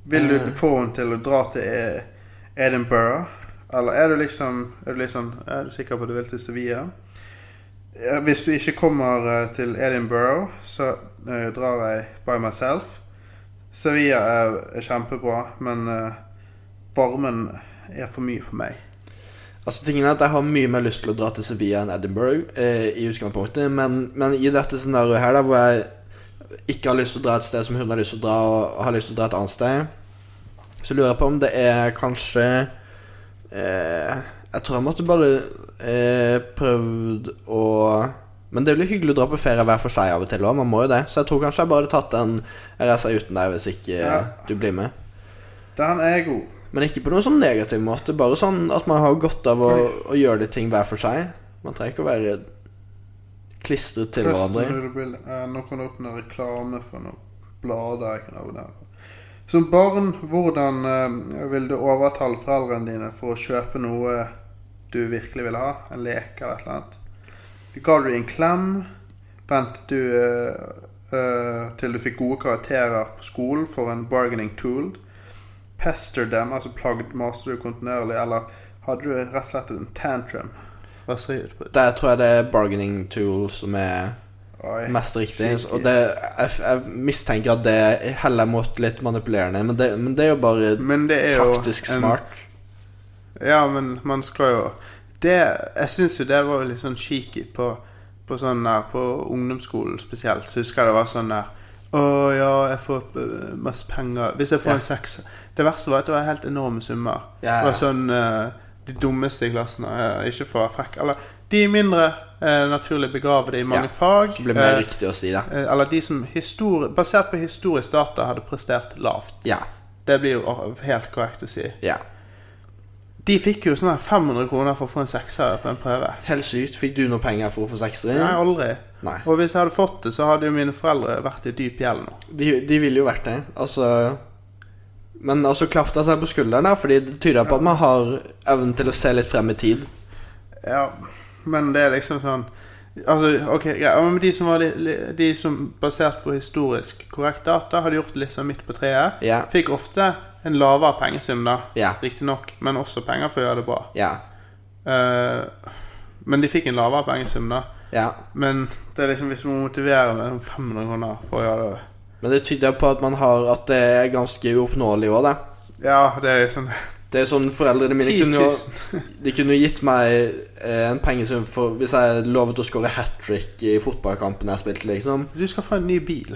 Vil du få henne til å dra til eh, Edinburgh? Eller er du liksom Er du, liksom, er du sikker på at du vil til Sevilla? Eh, Hvis du ikke kommer eh, til Edinburgh, så eh, drar jeg by myself. Sevilla er, er kjempebra, men eh, varmen er for mye for meg. Altså tingen er at Jeg har mye mer lyst til å dra til Sevilla enn Edinburgh, eh, i utgangspunktet, men, men i dette scenarioet her, da, hvor jeg ikke har lyst til å dra et sted som hun har lyst til å dra, og har lyst til å dra et annet sted, så lurer jeg på om det er kanskje eh, Jeg tror jeg måtte bare eh, prøvd å Men det blir hyggelig å dra på ferie hver for seg av og til òg, man må jo det. Så jeg tror kanskje jeg bare hadde tatt en reise uten deg hvis ikke Ja. du blir med. Den er god. Men ikke på noen sånn negativ måte, bare sånn at man har godt av å, å gjøre de ting hver for seg. Man trenger ikke å være klistret til Første hverandre. rullebille. Eh, Nå kan det opp noen reklame for noen blader jeg kan abonnere på. Som barn, hvordan eh, vil du overtale foreldrene dine for å kjøpe noe du virkelig vil ha? En lek eller et eller annet? Ga du dem en klem? Ventet du eh, eh, til du fikk gode karakterer på skolen for en bargaining tool? Pester dem, altså plagd, maste du kontinuerlig, eller hadde du rett og slett en tantrum? Hva sier du på det? Der tror jeg det er bargaining tool som er Oi. mest riktig. Skikkelig. Og det, jeg, jeg mistenker at det heller mot litt manipulerende, men det, men det er jo bare Men det er jo taktisk en- smart. Ja, men man skal jo det, Jeg syns jo det var jo litt sånn cheeky på, på, sånn der, på ungdomsskolen spesielt. Så husker jeg det var sånn der Å ja, jeg får eh, masse penger Hvis jeg får Ja. en sekser Det verste var at det var helt enorme summer. Ja, ja. Det var sånn eh, De dummeste i klassen eh, Ikke for å være frekk. Eller de mindre eh, naturlig begravede i mange Ja, fag. Det blir mer eh, riktig å si det. eh, eller de som histori basert på historisk data hadde prestert lavt. Ja. Det blir jo helt korrekt å si. ja. De fikk jo sånn her 500 kroner for å få en sekser på en prøve. Helt sykt. Fikk du noe penger for å få seksere? Nei, aldri. Nei. Og hvis jeg hadde fått det, så hadde jo mine foreldre vært i dyp gjeld nå. De, de ville jo vært det. Altså Men altså klapp deg selv på skulderen, da, fordi det tyder på at man har evnen til å se litt frem i tid. Ja, men det er liksom sånn Altså, ok, greit. Ja, men de som var litt, li- De som basert på historisk korrekt data, hadde gjort litt sånn midt på treet. Ja. Fikk ofte en lavere pengesum, da. Ja. Riktignok. Men også penger for å gjøre det bra. Ja. Eh, men de fikk en lavere pengesum, da. ja. Men det er liksom hvis du må motivere med 500 kroner for å gjøre det Men det tyder på at man har At det er ganske uoppnåelig òg, da. Ja, det er liksom Det er sånn foreldrene mine 10 kunne jo 000. De kunne jo gitt meg eh, en pengesum for hvis jeg lovet å skåre hat trick i fotballkampen jeg spilte, liksom. Du skal få en ny bil.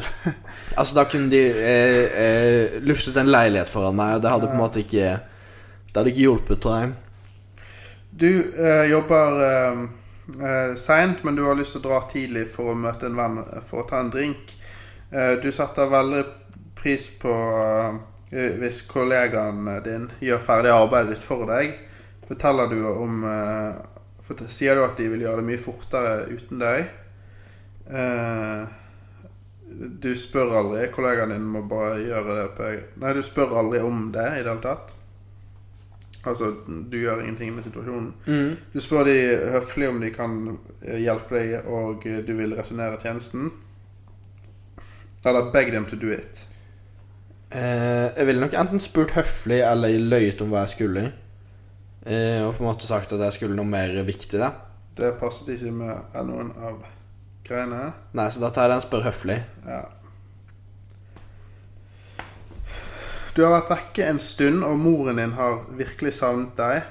Altså, da kunne de eh, eh, luftet en leilighet foran meg, og det hadde på en måte ikke Det hadde ikke hjulpet, tror jeg. Du eh, jobber eh, eh, seint, men du har lyst til å dra tidlig for å møte en venn eh, for å ta en drink. Eh, du setter veldig pris på eh, hvis kollegaen din gjør ferdig arbeidet ditt for deg. Forteller du om eh, fort- Sier du at de vil gjøre det mye fortere uten deg? Eh, du spør aldri. Kollegaen din må bare gjøre det på egen Nei, du spør aldri om det i det hele tatt. Altså, du gjør ingenting med situasjonen. Du spør de høflig om de kan eh, hjelpe deg, og eh, du vil returnere tjenesten. Eller beg them to do it. Eh, jeg ville nok enten spurt høflig eller løyet om hva jeg skulle. Eh, og på en måte sagt at jeg skulle noe mer viktig, da. Det passet ikke med noen av greiene. Nei, så da tar jeg den spør høflig. Ja. Du har vært vekke en stund, og moren din har virkelig savnet deg.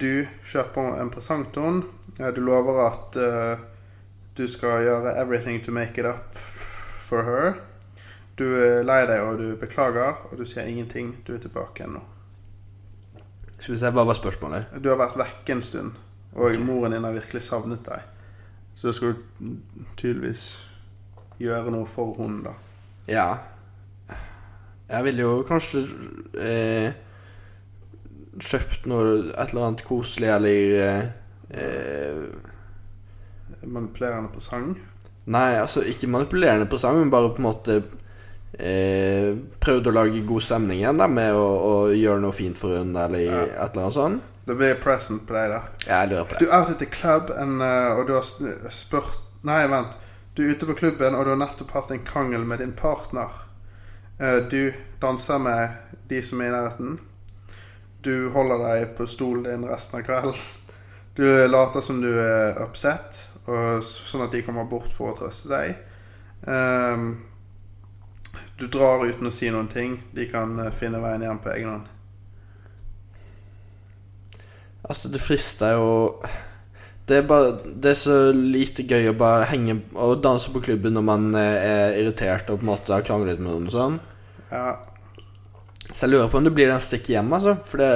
Du kjøper en presang til henne. Ja, Du lover at eh, du skal gjøre everything to make it up for her. Du er lei deg, og du beklager, og du sier ingenting. Du er tilbake ennå. Skal vi se, hva var spørsmålet? Du har vært vekke en stund, og moren din har virkelig savnet deg. Så da skal du tydeligvis gjøre noe for henne, da. Ja. Jeg ville jo kanskje eh, kjøpt noe Et eller annet koselig eller eh, eh, Manipulerende presang. Nei, altså ikke manipulerende presang, men bare på en måte eh, prøvd å lage god stemning igjen da, med å, å gjøre noe fint for henne, eller Ja. et eller annet sånt. Det blir present på deg, da. Jeg lurer på Du det. er ute til klubb, en, eh, og du har sn- spurt Nei, vent. Du er ute på klubben, og du har nettopp hatt en krangel med din partner. Eh, Du danser med de som er i nærheten. Du holder deg på stolen din resten av kvelden. Du later som du er upset, og s- sånn at de kommer bort for å trøste deg. Ehm, Du drar uten å si noen ting. De kan eh, finne veien hjem på egen hånd. Altså, det frister jo det er, bare, det er så lite gøy å bare henge og danse på klubben når man eh, er irritert og på en måte har kranglet med noen og sånn. Ja, Så jeg lurer på om det blir den stikk hjem, altså. For det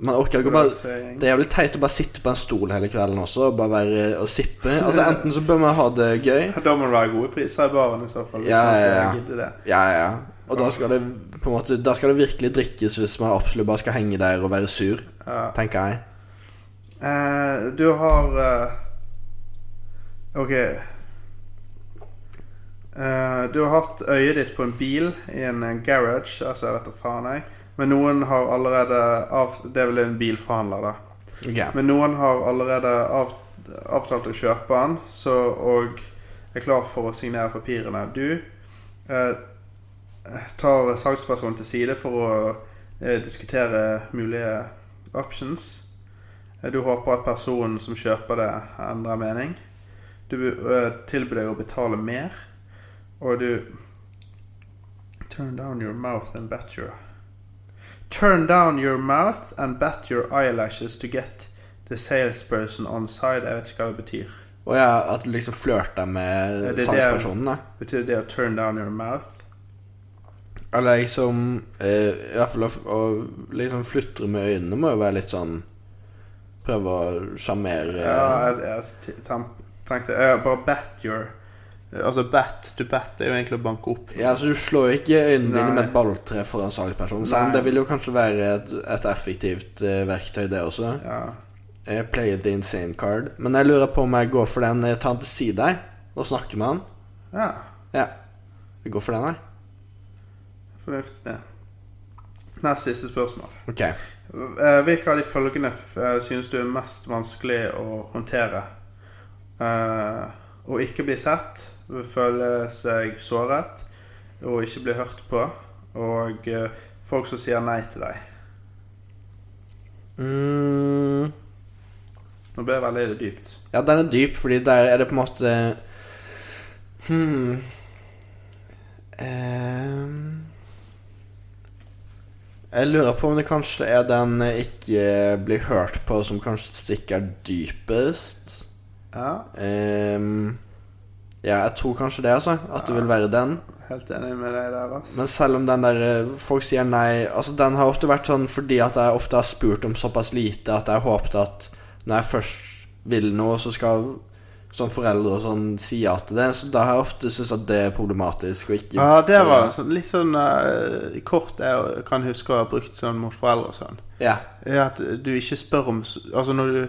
Man orker ikke å bare Polarisering. Det er jævlig teit å bare sitte på en stol hele kvelden også og bare være og sippe. Altså Enten så bør man ha det gøy Da må det være gode priser i baren i så fall. hvis Ja, man skal ja, ja. gidde det. Ja, ja. Og da skal det på en måte Da skal det virkelig drikkes hvis man absolutt bare skal henge der og være sur, Ja. tenker jeg. Eh, du har eh, Ok. Eh, du har hatt øyet ditt på en bil i en eh, garage, altså jeg vet da faen, jeg. Men noen har allerede av... Det er vel en bilforhandler, da. Okay. Men noen har allerede av, avtalt å kjøpe den, så, og er klar for å signere papirene. Du eh, tar salgspersonen til side for å eh, diskutere mulige options. Eh, Du håper at personen som kjøper det, endrer mening. Du eh, tilbyr deg å betale mer, og du Turn down your mouth and bet your Turn down your mouth and bat your eyelashes to get the salesperson on side. Jeg vet ikke hva det betyr. Og ja, at du liksom flørter med Ja, det er det- salgspersonen, da. Betyr det å turn down your mouth? Eller liksom eh, I hvert fall å, f- å liksom flytre med øynene må jo være litt sånn Prøve å sjarmere Ja, jeg, jeg t- tam- tenkte ja, Bare bat your Altså bat to bat er jo egentlig å banke opp. Ja, altså Du slår jo ikke øynene dine Nei. med et balltre foran salgspersonen. selv om Nei. Det vil jo kanskje være et, et effektivt eh, verktøy, det også. Ja. Jeg Play the insane card. Men jeg lurer på om jeg går for den. eh, Ta han til side her og snakke med han. ja. Ja. Jeg går for den her. Fornuftig. Nest siste spørsmål. Ok. Eh, Hvilke av de følgende f- eh, synes du er mest vanskelig å håndtere? Eh, Å ikke bli sett, føle seg såret, og ikke bli hørt på, og eh, folk som sier nei til deg. Mm. Nå ble det veldig dypt. Ja, den er dyp, fordi der er det på en måte Hmm Ehm. Jeg lurer på om det kanskje er den ikke blir hørt på, som kanskje stikker dypest. Ja, Ehm. ja, jeg tror kanskje det, altså. At det vil være den. helt enig med deg der, ass. Men selv om den der eh, folk sier nei Altså Den har ofte vært sånn fordi at jeg ofte har spurt om såpass lite at jeg håpet at når jeg først vil noe, så skal sånn foreldre og sånn si ja til det. Så da har jeg ofte syntes at det er problematisk. Og ikke Ja, det var sånn, litt sånn eh, kort jeg kan huske å ha brukt sånn mot foreldre og sånn. Ja. Ja, at du ikke spør om s- Altså når du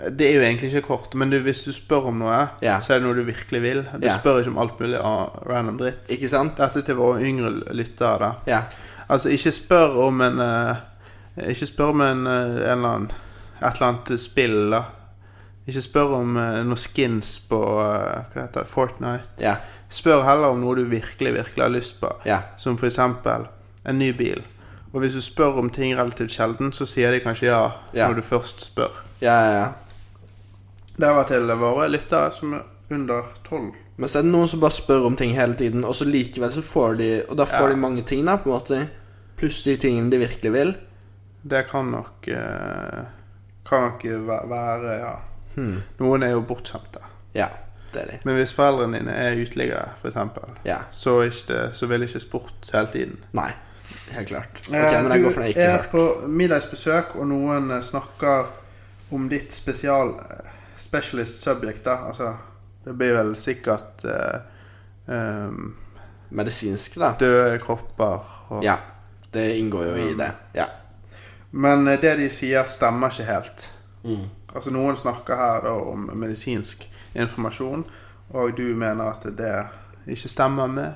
Det er jo egentlig ikke kort, men du, hvis du spør om noe, Ja. så er det noe du virkelig vil. Du Ja. spør ikke om alt mulig av random dritt. Ikke sant? Dette til våre yngre lyttere, da. Ja. Altså, ikke spør om en eh, Ikke spør om en, eh, en eller annen Et eller annet spill, da. Ikke spør om eh, noen skins på eh, Hva heter det? Fortnite. Ja. Spør heller om noe du virkelig, virkelig har lyst på. Ja. Som for eksempel en ny bil. Og hvis du spør om ting relativt sjelden, så sier de kanskje ja, Ja. når du først spør. Ja, ja, ja. Det var til våre lyttere som er under tolv. Men så er det noen som bare spør om ting hele tiden, og så likevel så får de Og da får Ja. de mange ting, da, på en måte. Pluss de tingene de virkelig vil. Det kan nok eh, Kan nok væ- være, ja. Hmm. Noen er jo bortskjemte. Ja. Det er de. Men hvis foreldrene dine er uteliggere, f.eks., Ja. så, er ikke det- så vil ikke sport hele tiden. Nei. Helt klart. Ok, Eh, men jeg går for den jeg du ikke har er hørt. på middagsbesøk, og noen eh, snakker om ditt spesial eh, specialist subject, da. Altså, det blir vel sikkert eh, ehm, medisinsk, da. døde kropper og Ja. Det inngår jo Mm. i det. Ja. Men eh, det de sier, stemmer ikke helt. Altså, noen snakker her da om medisinsk informasjon, og du mener at det ikke stemmer med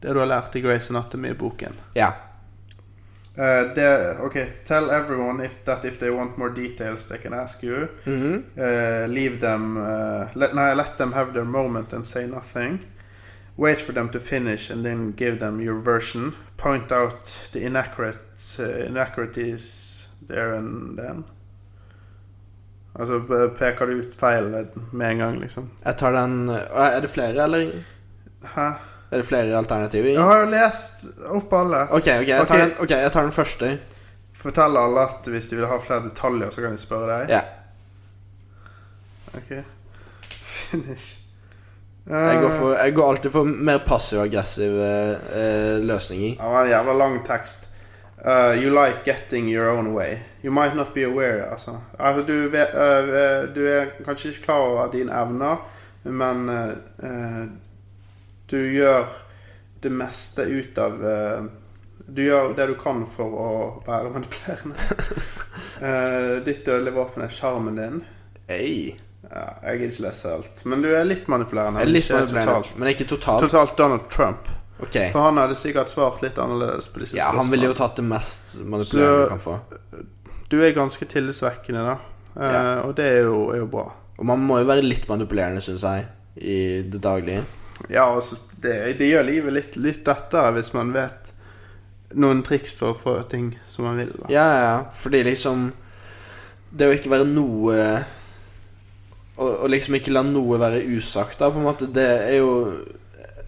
det du har lært i Grace Anatomy-boken. ja. Uh, det, okay, tell everyone if, that if they want more details they can ask you. Uh, leave them uh, let, nei, let them have their moment and say nothing. Wait for them to finish and then give them your version. Point out the inaccurate, uh, inaccuracies there and then. Altså p- peker du ut feil med en gang, liksom. Jeg tar den Å, Er det flere, eller? Hæ? Er det flere alternativer? Jeg har jo lest opp alle. Ok, ok, jeg tar, Ok. Den, ok, jeg tar den første. Fortell alle at hvis de vil ha flere detaljer, så kan de spørre deg. Ja. Ok. Finish. Jeg går, Eh, for, jeg går alltid for mer passiv-aggressive eh, løsninger. Det var en jævla lang tekst. Uh, you like getting your own way. You might not be aware, altså. altså du, vet, eh, du er kanskje ikke klar over dine evner, men eh, eh, du gjør det meste ut av eh, Du gjør det du kan for å være manipulerende. Eh, ditt dødelige våpen er sjarmen din. Ei. Ja, jeg gidder ikke lese alt, men du er litt manipulerende. Jeg er litt ikke manipulerende, totalt. men ikke totalt. Totalt Donald Trump. Ok. For han hadde sikkert svart litt annerledes på disse Ja, han ville jo tatt det mest manipulerende Så- du kan få. Du er ganske tillitsvekkende, da. Eh, Ja. Og det er jo, er jo bra. Og man må jo være litt manipulerende, syns jeg, i det daglige. Ja, altså, det, det gjør livet litt, litt lettere hvis man vet noen triks for å få ting som man vil. Da. Ja, ja, ja. Fordi liksom Det å ikke være noe å, å liksom ikke la noe være usagt, da, på en måte, det er jo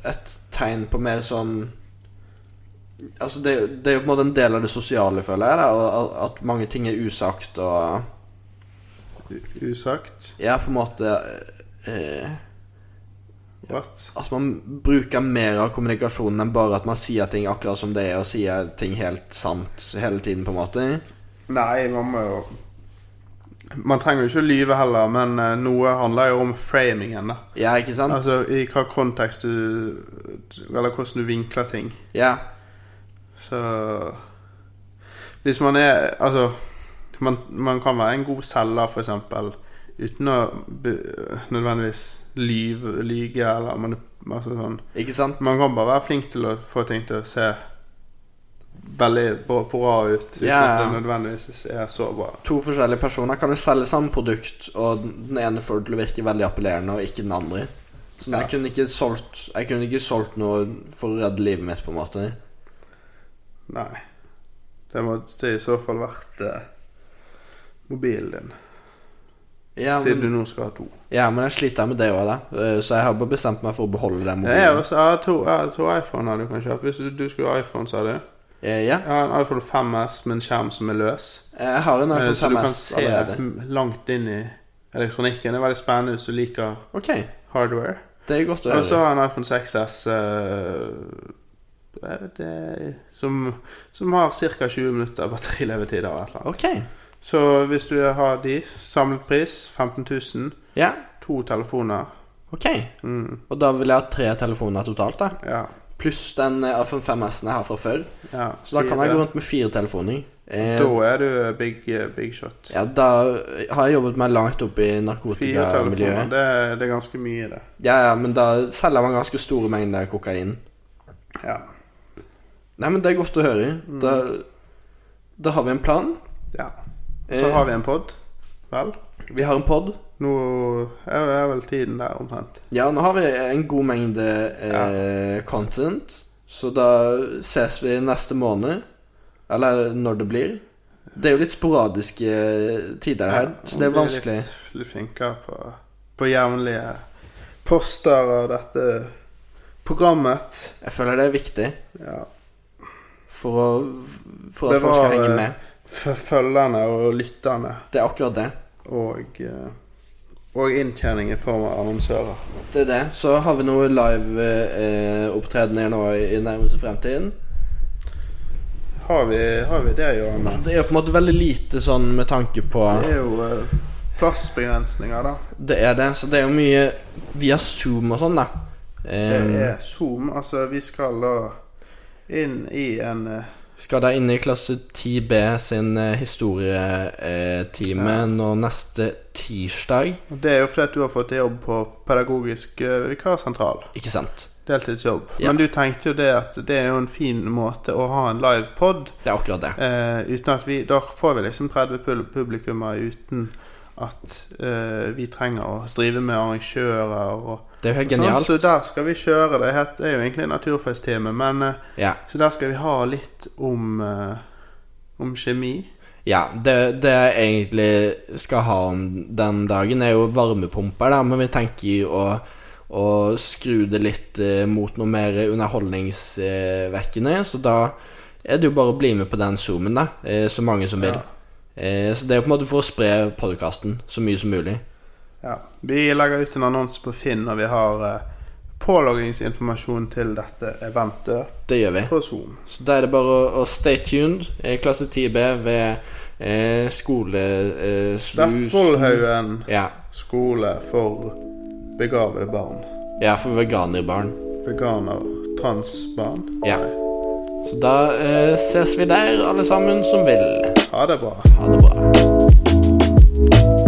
et tegn på mer sånn Altså, det, det er jo på en måte en del av det sosiale, føler jeg, da, og at- at mange ting er usagt og Usagt. Ja, på en måte eh, What? At man bruker mer av kommunikasjonen enn bare at man sier ting akkurat som det er, og sier ting helt sant hele tiden, på en måte. Nei, man må jo Man trenger jo ikke å lyve heller, men eh, noe handler jo om framingen, da. Ja, ikke sant? Altså i hva kontekst du Eller hvordan du vinkler ting. ja. Så Hvis man er Altså Man, man kan være en god selger, for eksempel uten å be- nødvendigvis lyve, lyge eller man, altså sånn. Ikke sant? Man kan bare være flink til å få ting til å se veldig bra, bra ut, uten Ja, ja. at det nødvendigvis er så bra. To forskjellige personer kan jo selge samme produkt, og den ene får det til å virke veldig appellerende, og ikke den andre. Så Ja. jeg, kunne ikke solgt, jeg kunne ikke solgt noe for å redde livet mitt, på en måte. Nei. Det måtte i så fall vært eh, mobilen din, Ja, siden men, du nå skal ha to. ja, men jeg sliter med det òg, da. Eh, Så jeg har bare bestemt meg for å beholde den Jeg har mobilen. også altså, jeg har to, jeg har to iPhoner du kan kjøpe. Hvis du, du skulle ha iPhone, sa du? Eh, Ja, Jeg har en iPhone 5S med en skjerm som er løs. jeg har en Eh, iPhone Så du 5S kan se allerede. langt inn i elektronikken. Det er veldig spennende hvis du liker Ok, hardware. det er godt å Og så høre. har jeg en iPhone 6S eh, jeg vet det, som, som har ca. 20 minutter batterilevetid. eller et eller annet. Ok, Så hvis du har de, samlet pris 15 000, ja. to telefoner Ok, mm, og da vil jeg ha tre telefoner totalt da Ja. Pluss den eh, iPhone 5S-en jeg har fra før ja Så da kan jeg fire. gå rundt med fire telefoner eh, Da er du big, big shot. Ja, da har jeg jobbet meg langt opp i Fire telefoner, narkotikamiljøet det, er- det er ganske mye, det. Ja, ja, men da selger man ganske store mengder kokain Ja. Nei, men det er godt å høre Da, da har vi en plan ja. Så Eh. har vi en pod. Vel. Vi har en pod Nå er, er vel tiden der omtrent. Ja, nå har vi en god mengde eh, content Så da ses vi neste måned Eller når det blir Det er jo litt sporadiske eh, tider her Så det er Blir vanskelig Litt, litt flinkere på, på jevnlige poster av dette programmet. Jeg føler det er viktig Ja. For, å, for at folk skal Bevare- henge med For eh, følgerne og lytterne Det er akkurat det og, eh, og inntjening i form av annonsører. Det er det Så har vi noe live eh, opptredener nå i i nærmeste fremtiden Har vi, har vi det, Jørgen? Altså det er jo på en måte veldig lite sånn med tanke på Det er jo eh, plassbegrensninger, da. Det er det Så det er jo mye via Zoom og sånn da Det Eh, er Zoom. Altså, vi skal da inn i en eh, Skal da inn i klasse 10B sin eh, historietime nå neste tirsdag. og Det er jo fordi at du har fått jobb på pedagogisk eh, vikarsentral. Ikke sant? Deltidsjobb. Ja. Men du tenkte jo det at det er jo en fin måte å ha en live pod Det er akkurat det. eh, uten at vi Da får vi liksom 30 pul- publikummer uten at eh, vi trenger å drive med arrangører og Det er jo helt sånn. genialt. Så der skal vi kjøre det. Het- Det er jo egentlig en naturfagstime, men eh, Ja. Så der skal vi ha litt om eh, om kjemi. ja det, det jeg egentlig skal ha om den dagen, er jo varmepumper, da, men vi tenker jo å å skru det litt eh, mot noe mer underholdningsvekkende. Så da er det jo bare å bli med på den zoomen, da. Eh, så mange som vil. Ja. Eh, så det er jo på en måte for å spre podkasten så mye som mulig. Ja. Vi legger ut en annonse på Finn når vi har eh, påloggingsinformasjon til dette eventet Det gjør vi. på Zoom. Så da er det bare å, å stay tuned. Eh, Klasse 10B ved eh, skole... Eh, slus. Slettvollhaugen Ja. skole for begavede barn. ja, for veganerbarn. Veganer, transbarn. Ja. Så da eh, ses vi der, alle sammen som vil. Ha det bra. Ha det bra.